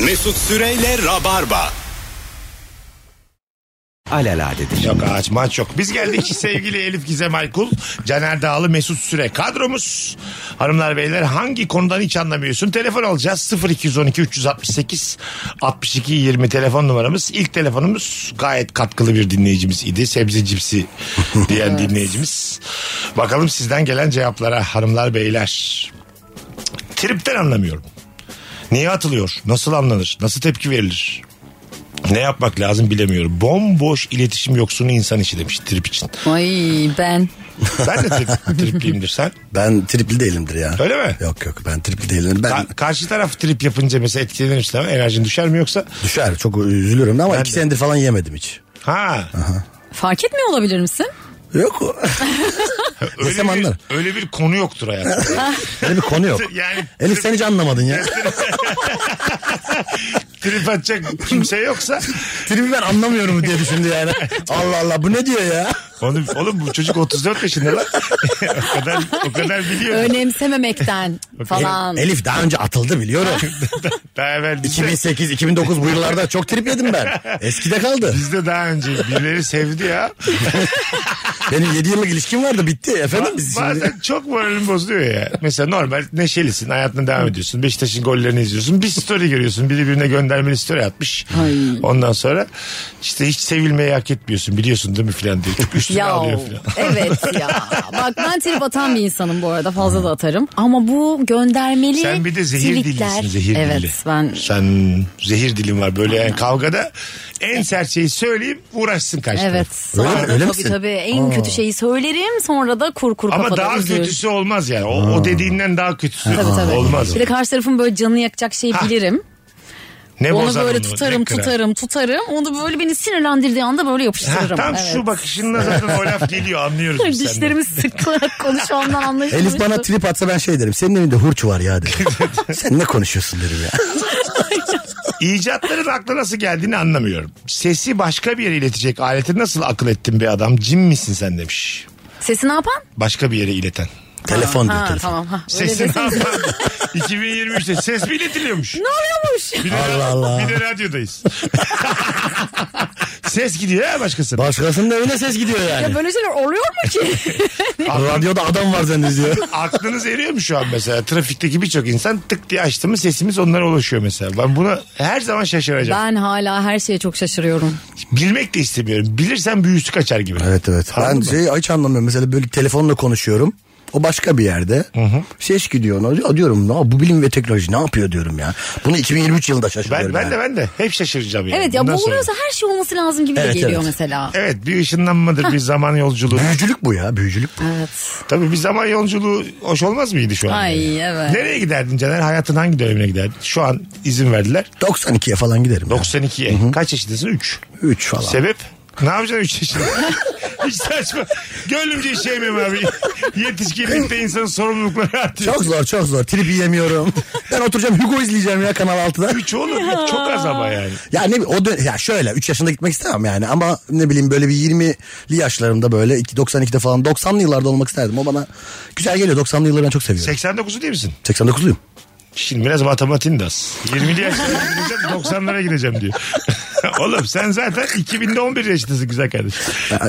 E: Mesut Süreyle Rabarba.
F: Alaladedir.
A: Yok ağaç maç yok. Biz geldik (laughs) sevgili Elif Gizem Aykul, Caner Dağlı, Mesut Süre kadromuz. Hanımlar beyler hangi konudan hiç anlamıyorsun? Telefon alacağız 0212 368 62 20 telefon numaramız. İlk telefonumuz gayet katkılı bir dinleyicimiz idi. Sebze cipsi diyen dinleyicimiz. Bakalım sizden gelen cevaplara hanımlar beyler. Tripten anlamıyorum. Niye atılıyor? Nasıl anlanır? Nasıl tepki verilir? Ne yapmak lazım bilemiyorum. Bomboş iletişim yoksunu insan işi demiş trip için.
C: Ay ben.
A: Ben de trip, tripliyimdir sen.
B: Ben tripli değilimdir ya.
A: Öyle mi?
B: Yok yok ben tripli değilim. Ben
A: Ka- karşı taraf trip yapınca mesela etkilenir işte ama enerjin düşer mi yoksa?
B: düşer çok üzülürüm de ama
A: Ben
B: iki
A: de.
B: senedir falan yemedim hiç.
A: Ha.
C: Fark etmiyor olabilir misin?
B: Yok.
A: Öyle
B: Desem
A: bir,
B: anlarım.
A: öyle bir konu yoktur hayatım.
B: Öyle bir konu yok.
A: (laughs) yani
B: (laughs) Elif sen hiç anlamadın ya. (laughs)
A: trip atacak kimse yoksa
B: Tripi ben anlamıyorum diye düşündü (laughs) yani. Allah Allah bu ne diyor ya?
A: oğlum, oğlum bu çocuk 34 yaşında lan. (laughs) o kadar o kadar biliyor.
C: Önemsememekten falan.
B: Elif daha önce atıldı (laughs) biliyorum.
A: (laughs) Daha evvel bizde,
B: 2008-2009 bu yıllarda çok trip yedim ben. Eskide kaldı.
A: bizde daha önce birileri sevdi ya.
B: Benim 7 yıllık ilişkim vardı bitti. Efendim biz şimdi...
A: Bazen çok moralim bozuluyor ya. Mesela normal neşelisin hayatına devam ediyorsun. Beşiktaş'ın gollerini izliyorsun. Bir story görüyorsun. Biri birine göndermeli story atmış. Ondan sonra işte hiç sevilmeyi hak etmiyorsun. Biliyorsun değil mi filan diye. Çok üstüne
C: Ya
A: alıyor filan.
C: evet ya. Bak ben trip atan bir insanım bu arada fazla da atarım. Ama bu göndermeli
A: Sen bir de zehir
C: tweetler-
A: dillisin zehir
C: evet,
A: dilli.
C: ben
A: Sen zehir dilin var böyle yani kavgada en sert şeyi söyleyeyim uğraşsın karşı
C: Evet.
A: taraf.
B: Öyle mi?
C: Sonra
B: Öyle
C: tabii
B: misin?
C: tabii en kötü şeyi söylerim sonra da kur kur
A: Ama
C: kafada
A: daha
C: üzülür.
A: kötüsü olmaz yani. O, o dediğinden daha kötüsü
C: Tabii, tabii.
A: olmaz.
C: Bir de karşı tarafın böyle canını yakacak şeyi
A: Ha.
C: bilirim.
A: Ne
C: Onu
A: bozar
C: böyle
A: ne
C: tutarım
A: kırar.
C: tutarım tutarım. Onu böyle beni sinirlendirdiği anda böyle
A: Ha,
C: yapıştırırım.
A: tam
C: evet.
A: şu bakışınla zaten o laf geliyor anlıyoruz biz senden.
C: Dişlerimiz sıkılarak konuşmamdan anlaşılmıştı.
B: Elif bana trip atsa ben şey derim. Senin evinde hurç var ya (laughs) derim. Sen ne konuşuyorsun derim ya.
A: İcatların akla nasıl geldiğini anlamıyorum. Sesi başka bir yere iletecek aleti nasıl akıl ettin be adam? Cin misin sen demiş.
C: Sesi ne yapan?
A: Başka bir yere ileten.
B: telefon diyor
C: Ha,
B: telefon.
C: tamam. Ha, öyle
A: Sesi ne (laughs)
C: deseniz-
A: yapan? 2023'te ses mi iletiliyormuş?
C: Ne oluyormuş?
A: Bir de,
B: Allah Allah.
A: Bir de radyodayız. (laughs) ses gidiyor ya başkasına.
B: Başkasının evine ses gidiyor yani.
C: Ya böyle şeyler oluyor mu ki?
B: Radyoda adam var zannediyor.
C: (laughs)
A: Aklınız eriyor mu şu an mesela? Trafikteki birçok insan tık diye açtı mı sesimiz onlara ulaşıyor mesela. Ben buna her zaman şaşıracağım.
C: ben hala her şeye çok şaşırıyorum.
A: Bilmek de istemiyorum. Bilirsen büyüsü kaçar gibi.
B: Evet evet.
A: Anladın
B: Ben
A: mı?
B: şey hiç anlamıyorum. Mesela böyle telefonla konuşuyorum. O başka bir yerde. Ses gidiyor. ona. Ya diyorum "Ya bu bilim ve teknoloji ne yapıyor diyorum ya. Bunu 2023 yılında
A: Ben,
B: şaşırıyorum.
A: ben
B: yani.
A: de ben de. Hep şaşıracağım yani.
C: Evet ya bu
A: Bundan sonra.
C: oluyorsa her şey olması lazım gibi
B: Evet,
C: de geliyor
B: evet.
C: mesela.
A: Evet bir ışınlanmadır bir zaman yolculuğu.
B: Büyücülük bu ya büyücülük bu.
C: Evet.
A: Tabii bir zaman yolculuğu hoş olmaz mıydı şu an?
C: Ay evet.
A: Nereye giderdin Caner? Hayatın hangi dönemine giderdin? Şu an izin verdiler.
B: 92'ye falan giderim. ya.
A: 92'ye. Kaç yaşındasın? 3.
B: 3 falan.
A: Sebep? Ne yapacaksın 3 yaşında? (laughs) Hiç saçma. Gönlümce işeyemem abi. Yetişkinlikte insanın sorumlulukları artıyor.
B: Çok zor çok zor. Trip
A: (laughs)
B: yiyemiyorum. ben oturacağım Hugo izleyeceğim ya Kanal 6'da.
A: Üç oğlum ya, çok az ama yani.
B: Ya ne bi- o dön ya şöyle 3 yaşında gitmek istemem yani ama ne bileyim böyle bir 20'li yaşlarımda böyle iki- 92'de falan 90'lı yıllarda olmak isterdim. O bana güzel geliyor 90'lı yılları ben çok seviyorum.
A: 89'u değil misin?
B: 89'luyum.
A: Şimdi biraz matematiğin de az. 20'li yaşlara gireceğim 90'lara gireceğim diyor. (laughs) Oğlum sen zaten 2000'de 11 yaşındasın güzel kardeşim.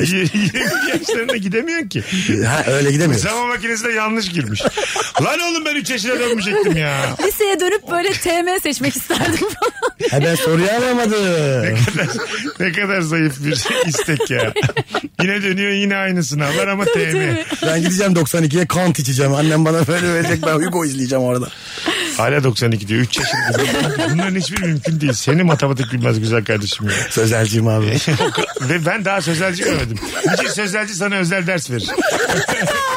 A: 20 yaşlarına gidemiyorsun ki.
B: Ha, öyle gidemiyoruz.
A: Zaman makinesi de yanlış girmiş. Lan oğlum ben 3 yaşına dönmeyecektim ya.
C: (laughs) Liseye dönüp böyle TM seçmek isterdim falan.
B: Ha, ben soruyu alamadım.
A: ne kadar zayıf bir istek ya. yine dönüyor yine aynı sınavlar ama TM.
B: ben gideceğim 92'ye kant içeceğim. Annem bana böyle verecek ben Hugo izleyeceğim orada.
A: Hala 92 diyor 3 yaşında. Bunların hiçbir mümkün değil. Seni matematik bilmez güzel kardeşim ya.
B: Sözelciyim abi.
A: Ve ben daha sözelci görmedim. Niçin sözelci sana özel ders
C: (laughs)
A: verir?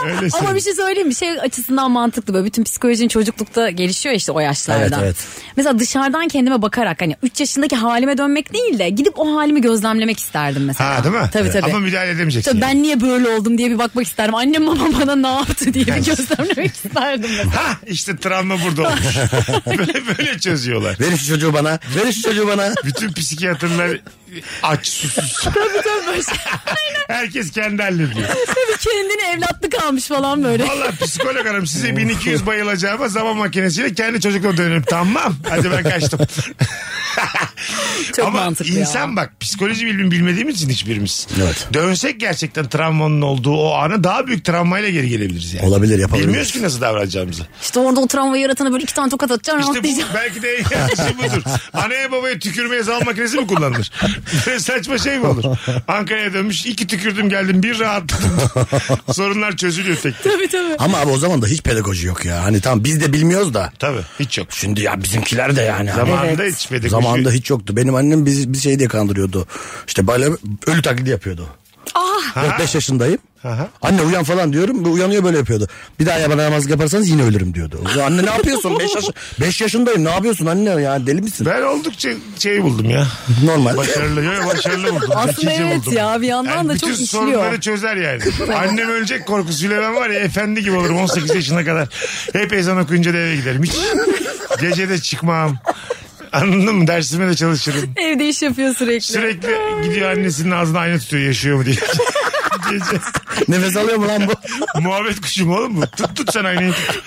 A: Öyle
C: Ama
A: söyleyeyim.
C: bir şey söyleyeyim mi? Şey açısından mantıklı böyle. Bütün psikolojin çocuklukta gelişiyor işte o yaşlarda.
B: Evet, evet.
C: Mesela dışarıdan kendime bakarak hani 3 yaşındaki halime dönmek değil de gidip o halimi gözlemlemek isterdim mesela.
A: Ha değil mi?
C: Tabii tabii.
A: Ama şey. müdahale edemeyeceksin.
C: Tabii
A: yani.
C: ben niye böyle oldum diye bir bakmak isterdim. Annem babam bana ne yaptı diye bir gözlemlemek
A: (laughs)
C: isterdim mesela.
A: Ha işte travma burada
C: (laughs)
A: olmuş. böyle, böyle çözüyorlar.
B: Verin şu çocuğu bana. Verin şu çocuğu bana.
A: Bütün psikiyatrlar aç susuz.
C: tabii tabii böyle şey.
A: Herkes kendi hallediyor.
C: Tabii kendini evlatlık almış falan böyle.
A: Valla psikolog hanım size 1200 bayılacağıma zaman makinesiyle kendi çocukluğuma dönerim. Tamam. Hadi ben kaçtım.
C: Çok
A: Ama
C: mantıklı ya.
A: insan bak psikoloji bilimi bilmediğimiz için hiçbirimiz.
B: Evet.
A: Dönsek gerçekten travmanın olduğu o ana daha büyük travmayla geri gelebiliriz yani.
B: Olabilir, yapabiliriz.
A: Bilmiyoruz ki nasıl davranacağımızı.
C: İşte orada o travmayı yaratana böyle iki tane tokat atacaksın
A: İşte bu, (laughs) belki
C: rahatlayacaksın.
A: de en yanlışı
C: (laughs)
A: budur. Anaya babaya tükürmeye zal makinesi mi kullanılır? (laughs) Böyle saçma şey mi olur? Ankara'ya dönmüş iki tükürdüm geldim bir
B: (laughs)
A: rahatladım. Sorunlar çözülüyor tek tek.
C: Tabii tabii.
B: Ama abi o zaman da hiç pedagoji yok ya. Hani tam biz de bilmiyoruz da.
A: Tabii hiç yok.
B: Şimdi ya bizimkiler de yani. hani-
A: Zamanında hiç şey- pedagoji.
B: Zamanında hiç yoktu. Benim annem bizi bir şey diye kandırıyordu. İşte böyle ölü taklidi yapıyordu. Ah. 5 yaşındayım.
A: Aha.
B: Anne uyan falan diyorum. Bu uyanıyor böyle yapıyordu. Bir daha bana namaz yaparsanız yine ölürüm diyordu. Ya Anne ne yapıyorsun? 5 yaş 5 yaşındayım. Ne yapıyorsun anne ya? Deli misin?
A: Ben oldukça şey buldum ya.
B: Normal.
A: Başarılı. Yo, yo, başarılı buldum.
C: Aslında
A: Zekice
C: evet
A: buldum.
C: ya bir yandan da çok
A: bütün
C: işliyor.
A: sorunları çözer
C: (laughs)
A: yani. Annem ölecek korkusuyla ben var ya efendi gibi olurum 18 yaşına kadar. Hep ezan okuyunca da eve giderim.
C: (laughs)
A: Hiç gece de çıkmam. Anladın mı? Dersime de çalışırım.
C: Evde iş yapıyor sürekli.
A: Sürekli gidiyor annesinin ağzına ayna tutuyor yaşıyor mu diye. (laughs) Gece.
B: Nefes alıyor mu lan bu?
A: Muhabbet kuşu mu oğlum bu? Tut tut sen aynayı tut.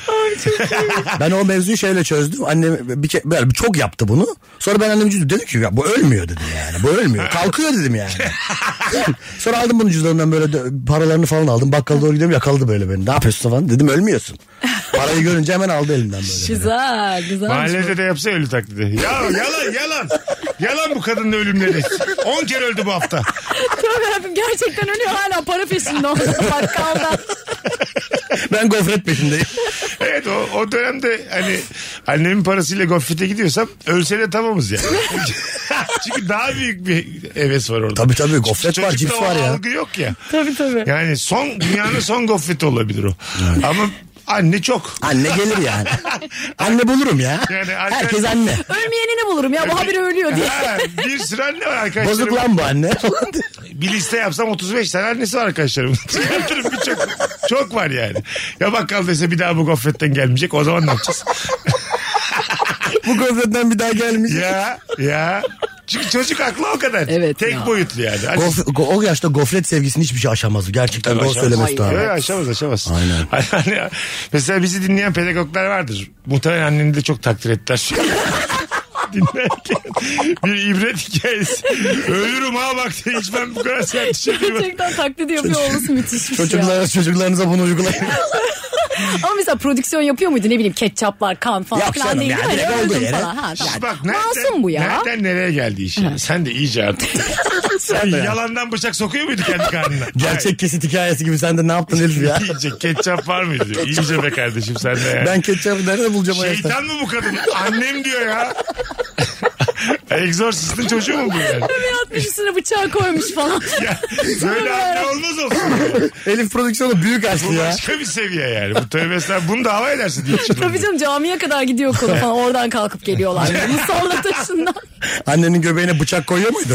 B: Ben o mevzuyu şöyle çözdüm. Annem bir ke- böyle çok yaptı bunu. Sonra ben annemin cüzdanı dedim ki ya bu ölmüyor dedim yani. Bu ölmüyor. Kalkıyor
A: (laughs)
B: dedim yani. Sonra aldım bunun cüzdanından böyle de- paralarını falan aldım. Bakkala doğru gidiyorum yakaladı böyle beni. Ne yapıyorsun falan dedim ölmüyorsun. Parayı görünce hemen aldı elimden böyle. beni.
C: Güzel, güzel.
A: Mahallede de yapsa ölü taklidi. Ya, yalan yalan. Yalan bu kadının ölümleri. 10 kere öldü bu hafta.
C: Tövbe Rabbim, gerçekten ölüyor hala para peşinde orada bakkalda.
B: Ben gofret peşindeyim.
A: (laughs) Evet o, o dönemde hani annemin parasıyla gofrete gidiyorsam ölse de tamamız
B: (laughs)
A: yani. (laughs) Çünkü daha büyük bir heves var orada.
B: Tabii tabii, gofret
A: Çocukta
B: var, cips
A: o
B: var ya.
A: algı yok ya.
C: tabii tabii.
A: Yani son dünyanın son gofreti olabilir o. Ama anne çok.
B: Anne gelir yani. Anne bulurum ya.
A: Yani anne-
B: Herkes anne.
C: Ölmeyenini bulurum ya bu haberi
A: (laughs)
C: ölüyor diye.
A: Ha, bir sürü anne var arkadaşlarım.
B: Bozuk lan
A: (laughs)
B: bu anne.
A: Bir liste yapsam 35 tane annesi var arkadaşlarım. (laughs) Çıkartırım birçok. Çok var yani. Ya bakkal dese bir daha bu gofretten gelmeyecek. O zaman ne yapacağız?
B: bu gofretten bir daha gelmiş.
A: ya ya. Çünkü çocuk aklı o kadar.
C: Evet
A: Tek
C: ya.
A: boyutlu yani. Hani
B: Gof- go- o yaşta gofret sevgisini hiçbir şey aşamaz. Gerçekten doğru
A: aşamaz.
B: söylemesi
A: Yok,
B: lazım.
A: aşamaz aşamaz.
B: Aynen.
A: (laughs) Hani, mesela bizi dinleyen pedagoglar vardır. Muhtemelen anneni de çok takdir ettiler. (laughs) Dinlerken bir ibret hikayesi. Ölürüm ha bak diye hiç ben bu kadar sert şey düşerim.
C: Gerçekten taklit yapıyor olması müthişmiş şey ya.
B: Çocuklara, çocuklarınıza
A: (laughs)
B: bunu uygulayın.
C: Ama mesela prodüksiyon yapıyor muydu ne bileyim ketçaplar kan falan
B: Yok
C: filan
B: canım
C: değil
B: ya,
C: değil mi?
B: direkt
C: Hani
B: olduğu
C: öldüm
B: yere.
C: falan. Ha, yani.
A: Bak nereden,
C: Masum bu ya.
A: nereden nereye geldi iş yani? Sen de iyice
C: (laughs)
A: artık. Sen yalandan bıçak sokuyor muydu kendi karnına?
B: Gerçek kesit hikayesi gibi sen de ne yaptın
A: (laughs)
B: Elif ya?
A: Hayır. İyice ketçap var mıydı? diyor. İyice be kardeşim sen de yani.
B: ben ketçabı nerede bulacağım
C: Şey,
B: hayatta?
A: Şeytan mı bu kadın? Annem diyor ya. Egzorsistin çocuğu mu bu yani?
C: Atmış üstüne bıçağı koymuş falan.
A: Ya, böyle anne olmaz olsun.
B: Elif prodüksiyonu büyük açtı
A: Bu
B: ya.
A: başka bir seviye yani. Bu tövbe estağfurullah. Bunu da hava edersin diye düşünüyorum.
C: Tabii canım camiye kadar gidiyor konu falan oradan kalkıp geliyorlar. Musalla taşından.
A: (laughs)
B: Annenin göbeğine bıçak koyuyor muydu?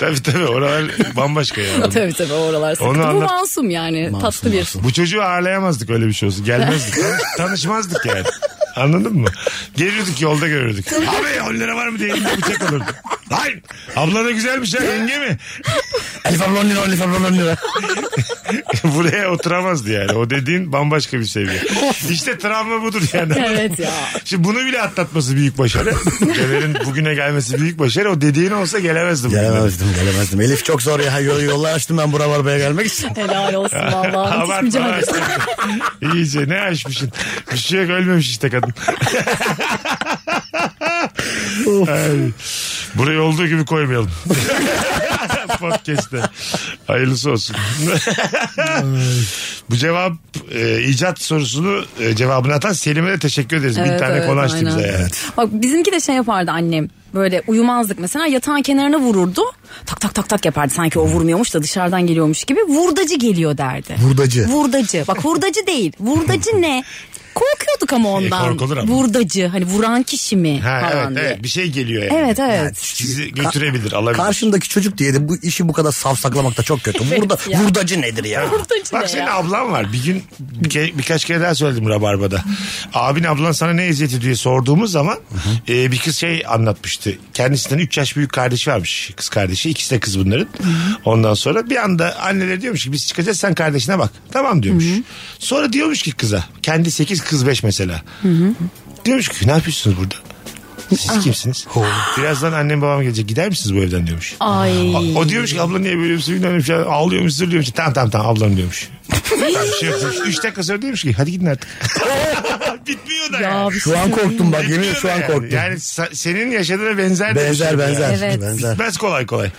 A: tabii tabii oralar bambaşka ya.
C: tabii tabii oralar sıkıntı.
A: Onu
C: Bu
A: anlat-
C: masum yani
B: Masum,
C: tatlı bir.
B: masum.
A: Bu çocuğu ağırlayamazdık öyle bir şey olsa. Gelmezdik. Tanışmazdık yani. Anladın mı? Gelirdik yolda görürdük. Abi 10 lira var mı diye elinde bıçak olurdu. Hayır. Abla da güzelmiş ya yenge mi? (laughs)
B: Elif abla on lira, Elif abla on lira.
A: Buraya oturamazdı yani. O dediğin bambaşka bir seviye. İşte travma budur yani.
C: Evet ya.
A: Şimdi bunu bile atlatması büyük başarı. Cever'in bugüne gelmesi büyük başarı. O dediğin olsa gelemezdi. bugüne.
B: Gelemezdim gelemezdim. Elif çok zor ya. Yol, yollar açtım ben buralara gelmek için.
C: Helal olsun vallahi. Müthiş
A: Abartma.
C: mücadele.
A: İyice ne aşmışsın. Bir şey yok ölmemiş işte kadın. Ay. Burayı olduğu gibi koymayalım. (laughs) Podcast'te. Hayırlısı olsun. Bu cevap e, icat sorusunu e, cevabını atan Selim'e de teşekkür ederiz. Bin
C: Evet,
A: tane
C: evet,
A: konu açtı
C: aynen.
A: bize yani.
C: Bak bizimki de şey yapardı annem. Böyle uyumazdık mesela yatağın kenarına vururdu. Tak tak tak tak yapardı sanki o vurmuyormuş da dışarıdan geliyormuş gibi. Vurdacı geliyor derdi.
B: Vurdacı.
C: Vurdacı. Bak vurdacı değil. Vurdacı ne? Korkuyorduk ama ondan.
A: Şey, korkulur ama.
C: Vurdacı. Hani vuran kişi mi
A: Ha,
C: falan
A: evet,
C: diye.
A: evet, bir şey geliyor yani.
C: Evet evet.
A: Sizi götürebilir, alabilir.
B: Karşındaki çocuk diye de bu işi bu kadar savsaklamak da çok kötü. Burada,
C: ya.
B: Vurdacı nedir ya?
C: Vurdacı
A: Bak
C: ne
A: senin
C: ya?
A: ablan var. Bir gün bir ke- birkaç kere daha söyledim Rabarba'da. Abin ablan sana ne eziyeti diye sorduğumuz zaman e, bir kız şey anlatmıştı. Kendisinden 3 yaş büyük kardeşi varmış. Kız kardeşi. İkisi de kız bunların. Ondan sonra bir anda anneleri diyormuş ki biz çıkacağız sen kardeşine bak. Tamam diyormuş. Sonra diyormuş ki kıza. Kendi 8 kız 5 mesela. Diyormuş ki ne yapıyorsunuz burada?
C: Ah.
A: Siz kimsiniz? Birazdan annem babam gelecek. Gider misiniz bu evden diyormuş.
C: Ay.
A: A- O diyormuş ki abla niye böyle bir suyun önemli şey ağlıyormuş zırlıyormuş. Tamam tamam tamam ablam diyormuş. tamam, bir şey yok. Üç dakika sonra diyormuş ki hadi gidin artık. (laughs) Bitmiyor da
C: Ya
A: yani.
C: bir şey-
B: Şu an korktum bak yemin ederim şu
A: Bitmiyor
B: an
A: da yani.
B: korktum.
A: Yani sa- senin yaşadığına benzer. de bir
B: Benzer
A: şey
B: benzer.
A: yani.
C: Evet.
B: benzer.
A: Bitmez kolay kolay.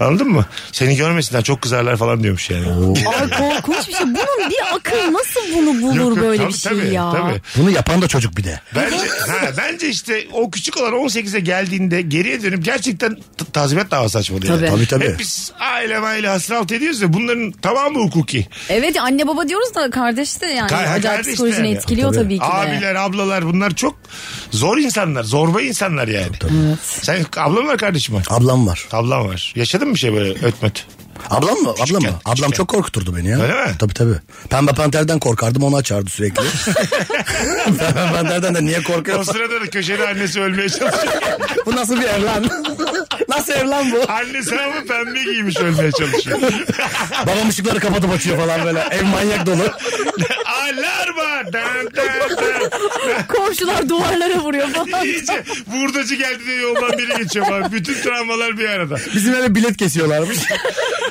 A: Anladın mı? Seni görmesinler çok kızarlar falan diyormuş yani.
C: Ay korkunç bir şey. Bunun bir akıl nasıl bunu bulur
A: Yok, yok,
C: böyle
A: tabii,
C: bir şey
A: tabii,
C: ya?
A: tabii.
B: Bunu yapan da çocuk bir de.
A: Bence, ha, bence işte o küçük olan 18'e geldiğinde geriye dönüp gerçekten t- tazminat davası açmalı. yani.
C: Tabii.
B: Tabii tabii.
A: Hep biz aile aile hasrat ediyoruz ya bunların tamamı hukuki.
C: Evet anne baba diyoruz da kardeş de yani
A: Ka-
C: acayip
A: kardeş de
C: psikolojini
A: yani.
C: etkiliyor tabii, ki de.
A: Abiler, ablalar bunlar çok zor insanlar. Zorba insanlar yani. Sen ablan var kardeşim var.
B: Ablam var.
A: Ablam var. Yaşadın mı bir şey böyle ötmet?
B: Ablam mı? Ablam
A: Küçükken,
B: mı? Ablam
A: küçükken.
B: çok korkuturdu beni ya.
A: Öyle mi?
B: Tabii tabii. Pembe Panter'den korkardım onu
A: (laughs)
B: açardı sürekli. Pembe Panter'den de niye
A: O (laughs)
B: korkuyorsun?
A: sırada da köşede annesi ölmeye çalışıyor.
B: bu nasıl bir ev lan? (laughs) nasıl ev lan bu?
A: annesi ama pembe giymiş ölmeye çalışıyor. (laughs)
B: Babam ışıkları kapatıp açıyor falan böyle. Ev manyak dolu.
A: Alarma! Dan, dan, dan.
C: Komşular duvarlara vuruyor
A: (laughs)
C: falan.
A: İyice vurdacı geldi diye yoldan biri geçiyor falan. Bütün travmalar bir arada.
B: Bizim eve bilet kesiyorlarmış.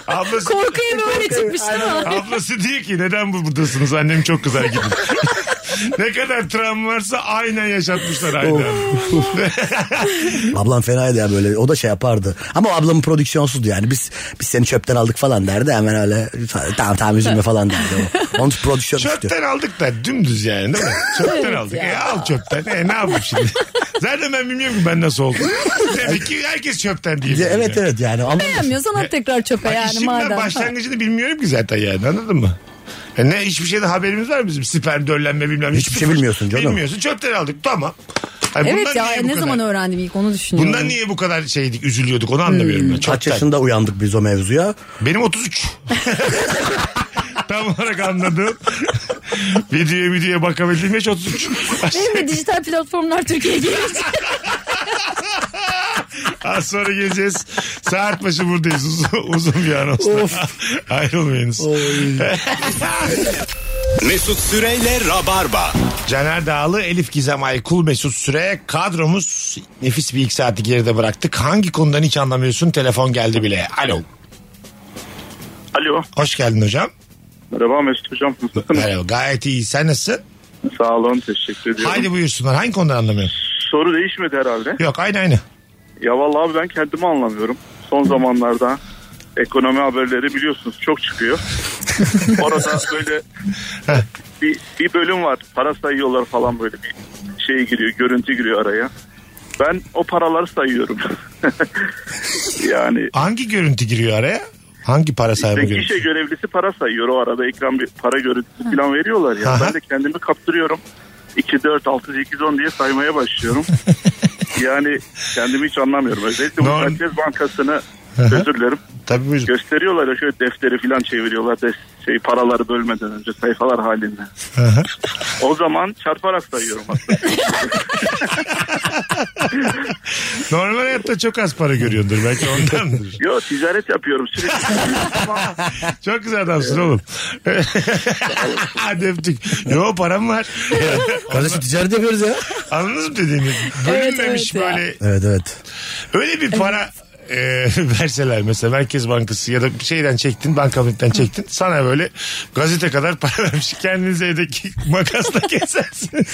A: Ablası,
C: Korku evi öyle çıkmış değil mi?
A: ablası diyor ki neden bu buradasınız annem çok kızar gidin. (laughs) ne kadar travma varsa aynen yaşatmışlar aynen.
B: Ablam fenaydı ya böyle. O da şey yapardı. Ama ablamın prodüksiyonsuzdu yani. Biz biz seni çöpten aldık falan derdi. Hemen öyle tamam tamam üzülme falan derdi. O. Onun prodüksiyon
A: (laughs)
B: üstü.
A: Çöpten aldık da dümdüz yani değil mi? Çöpten
C: Evet
A: aldık.
C: ya.
A: E, al çöpten. E, ne yapayım şimdi? (laughs) Zaten ben bilmiyorum ki ben nasıl oldum.
C: (laughs)
A: Demek ki herkes çöpten diye.
B: Ya, Evet evet yani. Ama
C: Beğenmiyorsan at tekrar çöpe yani
A: İşin ben
C: madem.
A: başlangıcını bilmiyorum ki zaten yani anladın mı? E ne hiçbir şeyden haberimiz var mı bizim? Sperm, döllenme bilmem.
B: Hiçbir şey bilmiyorsun canım.
A: Bilmiyorsun. Çöpten aldık tamam. Hani bundan
C: Evet ya
A: niye bu
C: ne
A: kadar-
C: zaman öğrendim ilk onu düşünüyorum.
A: Bundan niye bu kadar şeydik, üzülüyorduk onu anlamıyorum.
C: Hmm.
A: ben.
B: kaç
A: Çöpten.
B: yaşında uyandık biz o mevzuya.
A: Benim 33. (laughs) Tam olarak anladım. videoya videoya bakabildiğim yaş 33.
C: Benim de dijital platformlar
A: (laughs)
C: Türkiye'ye gelecek.
A: Az sonra geleceğiz. Saat başı buradayız. Uzun, uzun bir anonsla. Ayrılmayınız.
E: Mesut Süreyle Rabarba.
A: Caner Dağlı, Elif Gizem Aykul, Mesut Süre kadromuz. Nefis bir ilk saati geride bıraktık. Hangi konudan hiç anlamıyorsun? Telefon geldi bile. Alo.
D: Alo.
A: Hoş geldin hocam.
D: Merhaba Mesut Hocam. Nasılsınız?
A: Merhaba. Gayet iyi. Sen nasılsın?
D: Sağ olun. Teşekkür ediyorum.
A: Haydi buyursunlar. Hangi konudan anlamıyorsun?
D: Soru değişmedi herhalde.
A: Yok aynı aynı.
D: Ya vallahi abi ben kendimi anlamıyorum. Son zamanlarda ekonomi haberleri biliyorsunuz çok çıkıyor. Orada böyle bir, bir bölüm var. Para sayıyorlar falan böyle bir şey giriyor, görüntü giriyor araya. Ben o paraları sayıyorum. (laughs) yani
A: Hangi görüntü giriyor araya? Hangi para sahibi
D: ve
A: görüntü?
D: gişe şey görevlisi para sayıyor. O arada ekran bir para görüntüsü falan veriyorlar ya.
A: Aha.
D: Ben de kendimi kaptırıyorum. 2, 4, 6, 8, 10
A: (laughs)
D: diye saymaya başlıyorum. yani kendimi hiç anlamıyorum. Özellikle bu
A: Norm-
D: Merkez Bankası'nı Özür dilerim.
A: Tabii buyurun.
D: Gösteriyorlar ya şöyle defteri falan çeviriyorlar. De, şey paraları bölmeden önce sayfalar halinde. o zaman çarparak sayıyorum aslında.
A: Normal hayatta çok az para görüyordur. Belki
D: (laughs)
A: ondandır.
D: Yo ticaret yapıyorum sürekli.
A: çok güzel adamsın oğlum. (laughs) Hadi öptük. Yo param var. (laughs)
B: Kardeşim ticaret yapıyoruz ya.
A: Anladınız mı dediğimi? Bölünmemiş
C: evet ya.
A: böyle.
B: Evet evet.
A: Öyle bir para e, (laughs) verseler mesela Merkez Bankası ya da bir şeyden çektin bankamatikten çektin sana böyle gazete kadar para (laughs) vermiş kendinize evdeki (laughs) makasla
C: (laughs)
A: kesersiniz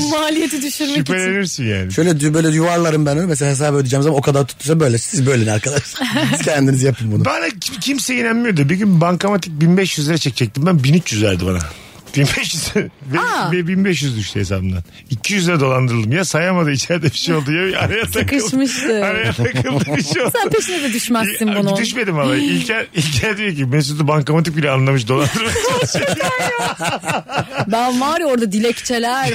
C: (laughs) Maliyeti düşürmek için.
A: şüphelenirsin yani
B: Şöyle dü- böyle yuvarlarım ben onu. Mesela hesabı ödeyeceğim zaman o kadar tuttuysa böyle. Siz bölün arkadaşlar.
C: (laughs)
B: Siz kendiniz yapın bunu.
A: bana kim- kimse inanmıyordu bir gün bankamatik 1500 lira çekecektim ben 1300 verdi bana (laughs) 1500 ve,
C: Aa.
A: ve 1500 düştü hesabımdan. 200 lira dolandırıldım. Ya sayamadı içeride bir şey oldu ya araya takıldı.
C: Sıkışmıştı.
A: Araya takıldı bir şey oldu.
C: Sen peşine de düşmezsin
A: Abi
C: bunun.
A: Düşmedim ama. İlker, İlker diyor ki Mesut'u bankamatik bile anlamış dolandırmak çalışıyor.
C: Ben var ya orada dilekçeler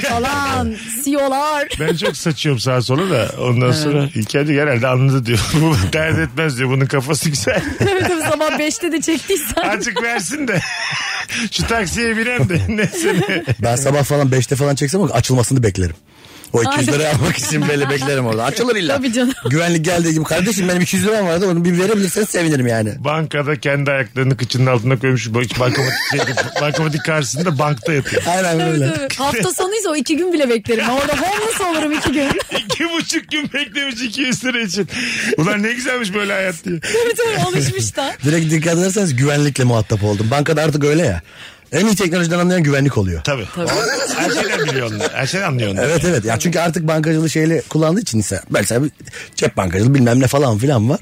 A: (laughs)
C: falan, E CEO'lar.
A: ben çok saçıyorum sağa sola da ondan sonra İlker diyor herhalde anladı diyor. (laughs) Bu dert etmez diyor bunun kafası güzel.
C: (laughs)
A: (laughs)
C: Evet tabii sabah 5'te de çektiysen.
A: Azıcık versin de. (laughs) Şu taksiye binen de (laughs) neyse ne.
B: Ben sabah falan 5'te falan çeksem o açılmasını beklerim. O 200 lira almak için böyle beklerim orada. Açılır illa.
C: Tabii canım.
B: Güvenlik geldiği gibi kardeşim benim 200 liram vardı onu bir verebilirseniz sevinirim yani.
A: Bankada kendi ayaklarını kıçının altına koymuş. Hiç Bankamatik, şeyde, (laughs) bankamatik karşısında bankta yatıyor.
B: Aynen öyle.
C: Evet. Hafta sonuysa o iki gün bile beklerim. Ben Orada homeless olurum iki gün.
A: (laughs)
C: (laughs)
A: İki buçuk gün beklemiş 200 lira için. Ulan ne güzelmiş böyle hayat diye.
C: Tabii tabii alışmış da.
B: Direkt dikkat ederseniz güvenlikle muhatap oldum. Bankada artık öyle ya. En iyi teknolojiden anlayan güvenlik oluyor.
A: Tabii. Her şeyden biliyor onlar. Her şeyden anlıyor onlar.
B: Evet evet. Ya çünkü artık bankacılığı şeyle kullandığı için ise mesela bir cep bankacılığı bilmem ne falan filan var.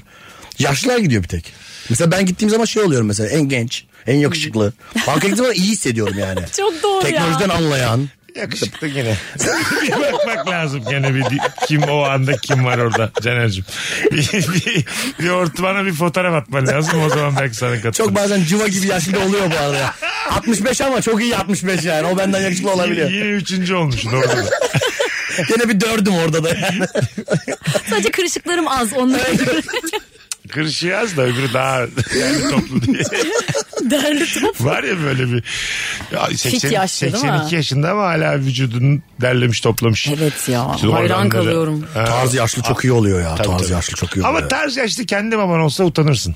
B: Yaşlılar gidiyor bir tek. Mesela ben gittiğim zaman şey oluyorum mesela en genç, en yakışıklı. Banka gittiğim zaman iyi hissediyorum yani.
C: (laughs) Çok doğru
B: Teknolojiden
C: ya.
B: anlayan.
A: Yakışıklı gene. (laughs) bir bakmak lazım gene bir kim o anda kim var orada Caner'cim. (laughs) Bir, bir, bir ortamana bir fotoğraf atman lazım o zaman belki sana katılır.
B: Çok bazen cıva gibi yaşlı da oluyor bu arada. ya. 65 ama çok iyi 65 yani. O benden yakışıklı
A: Yine,
B: olabiliyor.
A: yine üçüncü olmuşsun orada. da.
B: Gene bir dördüm orada da yani.
C: Sadece kırışıklarım az onlara göre.
A: Kırışığı az da öbürü daha yani toplu diye.
C: (laughs) Derli
A: (laughs)
C: top.
A: Var ya böyle bir ya 80,
C: yaşlı değil mi?
A: 82 yaşında ama hala vücudunu derlemiş toplamış.
C: Evet ya
A: Bütün
C: hayran
A: organları.
C: kalıyorum.
A: Ha.
B: Tarz yaşlı çok iyi oluyor ya.
A: Tabii,
B: tarz
A: tabii.
B: yaşlı çok iyi oluyor.
A: Ama tarz yaşlı kendi baban olsa utanırsın.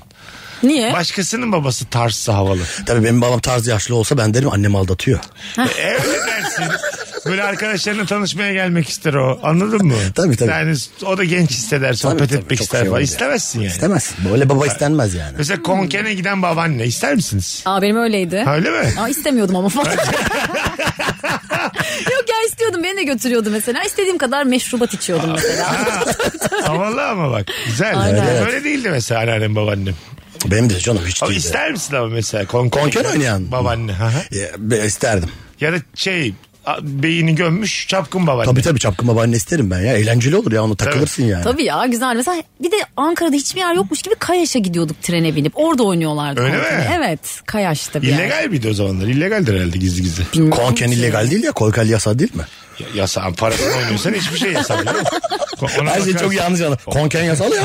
C: Niye?
A: Başkasının babası tarzsa havalı.
B: Tabii benim babam tarz yaşlı olsa ben derim annem aldatıyor.
A: Evli dersin. Böyle arkadaşlarına tanışmaya gelmek ister o. Anladın mı?
B: (laughs) Tabii, tabii.
A: Yani o da genç hisseder. Sohbet
B: Tabii, tabii,
A: etmek
B: çok
A: ister
B: şey
A: falan.
B: oldu.
A: İstemezsin yani.
B: İstemezsin. Böyle baba istenmez yani.
A: Mesela konkene giden babaanne ister
C: (laughs)
A: misiniz?
C: Aa benim öyleydi.
A: Ha, Öyle mi?
C: Aa istemiyordum ama falan. (laughs) Yok ya istiyordum beni de götürüyordu mesela. İstediğim kadar meşrubat içiyordum
A: (laughs)
C: mesela.
A: Havalı ama bak. Güzel.
C: Aynen.
A: Böyle
B: Evet.
A: Öyle değildi mesela anneannem babaannem.
B: Benim de canım hiç
A: Ama
B: değil.
A: ister misin ama mesela konkene?
B: Konken
A: giden
B: oynayan.
A: Babaanne. Hı hı.
B: Ya, be- isterdim.
A: ya da şey a- beyni gömmüş çapkın babaanne.
B: Tabii tabii çapkın babaanne isterim ben ya. Eğlenceli olur ya onu takılırsın yani.
C: Tabii ya güzel. Mesela bir de Ankara'da hiçbir yer yokmuş gibi Kayaş'a gidiyorduk trene binip. Orada oynuyorlardı.
A: Öyle
C: konkeni.
A: mi?
C: Evet Kayaş'ta bir yer.
A: İllegal miydi o zamanlar? İllegaldir herhalde gizli gizli.
B: Konken illegal değil ya. Kolkal yasa değil mi?
A: Ya- Yasa parasını oynuyorsan hiçbir şey yasak. değil mi? Ona
B: Her şey
A: bakarsın.
B: çok yanlış anladım. Konken yasal ya.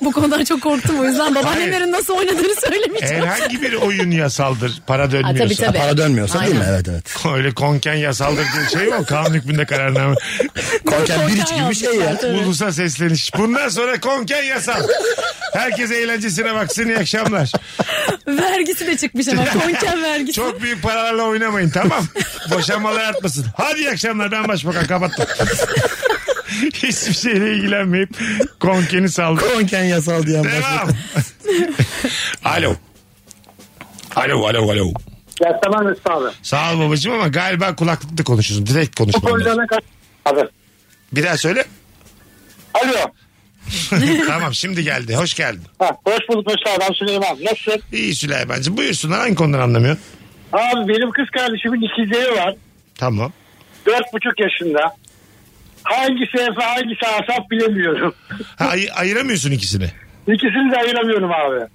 C: Bu konudan çok korktum o yüzden babaannelerin nasıl oynadığını söylemeyeceğim.
A: Herhangi bir oyun yasaldır. Para
C: Ha, tabii
A: dönmüyorsa.
C: (laughs) tabii.
B: Para dönmüyorsa değil mi?
C: Aynen.
B: Evet evet.
A: (laughs) Öyle konken yasaldır diye şey yok. Kanun hükmünde kararname.
B: Konken bir iç
C: Konken
B: gibi bir şey ya.
C: yazmışlar, evet.
A: Ulusa sesleniş. Bundan sonra konken yasal. Herkes eğlencesine baksın. iyi akşamlar.
C: Vergisi de çıkmış ama konken vergisi.
A: Çok büyük paralarla oynamayın tamam. Boşanmalar artmasın. Hadi iyi akşamlar ben başbakan kapattım. Hiçbir şeyle ilgilenmeyip konkeni saldım.
B: Konken yasal diyen başlık.
A: Devam. (laughs) alo. Alo alo alo.
G: Ya tamam Mesut abi.
A: Sağ ol babacığım ama galiba kulaklıkta konuşuyorsun. Direkt
G: Bu
A: konuşman lazım.
G: konuda Abi.
A: Bir daha söyle.
G: Alo.
A: (laughs) tamam şimdi geldi. Hoş geldin.
G: Ha, hoş bulduk Mesut abi. Ben Süleyman. Nasılsın?
A: İyi Süleyman'cığım. Buyursunlar hangi konudan anlamıyor?
G: Abi benim kız kardeşimin ikizleri var.
A: Tamam.
G: Dört buçuk yaşında. Hangisi Efe hangisi Asaf bilemiyorum.
A: Ha, ay- ayıramıyorsun ikisini.
G: İkisini de ayıramıyorum abi.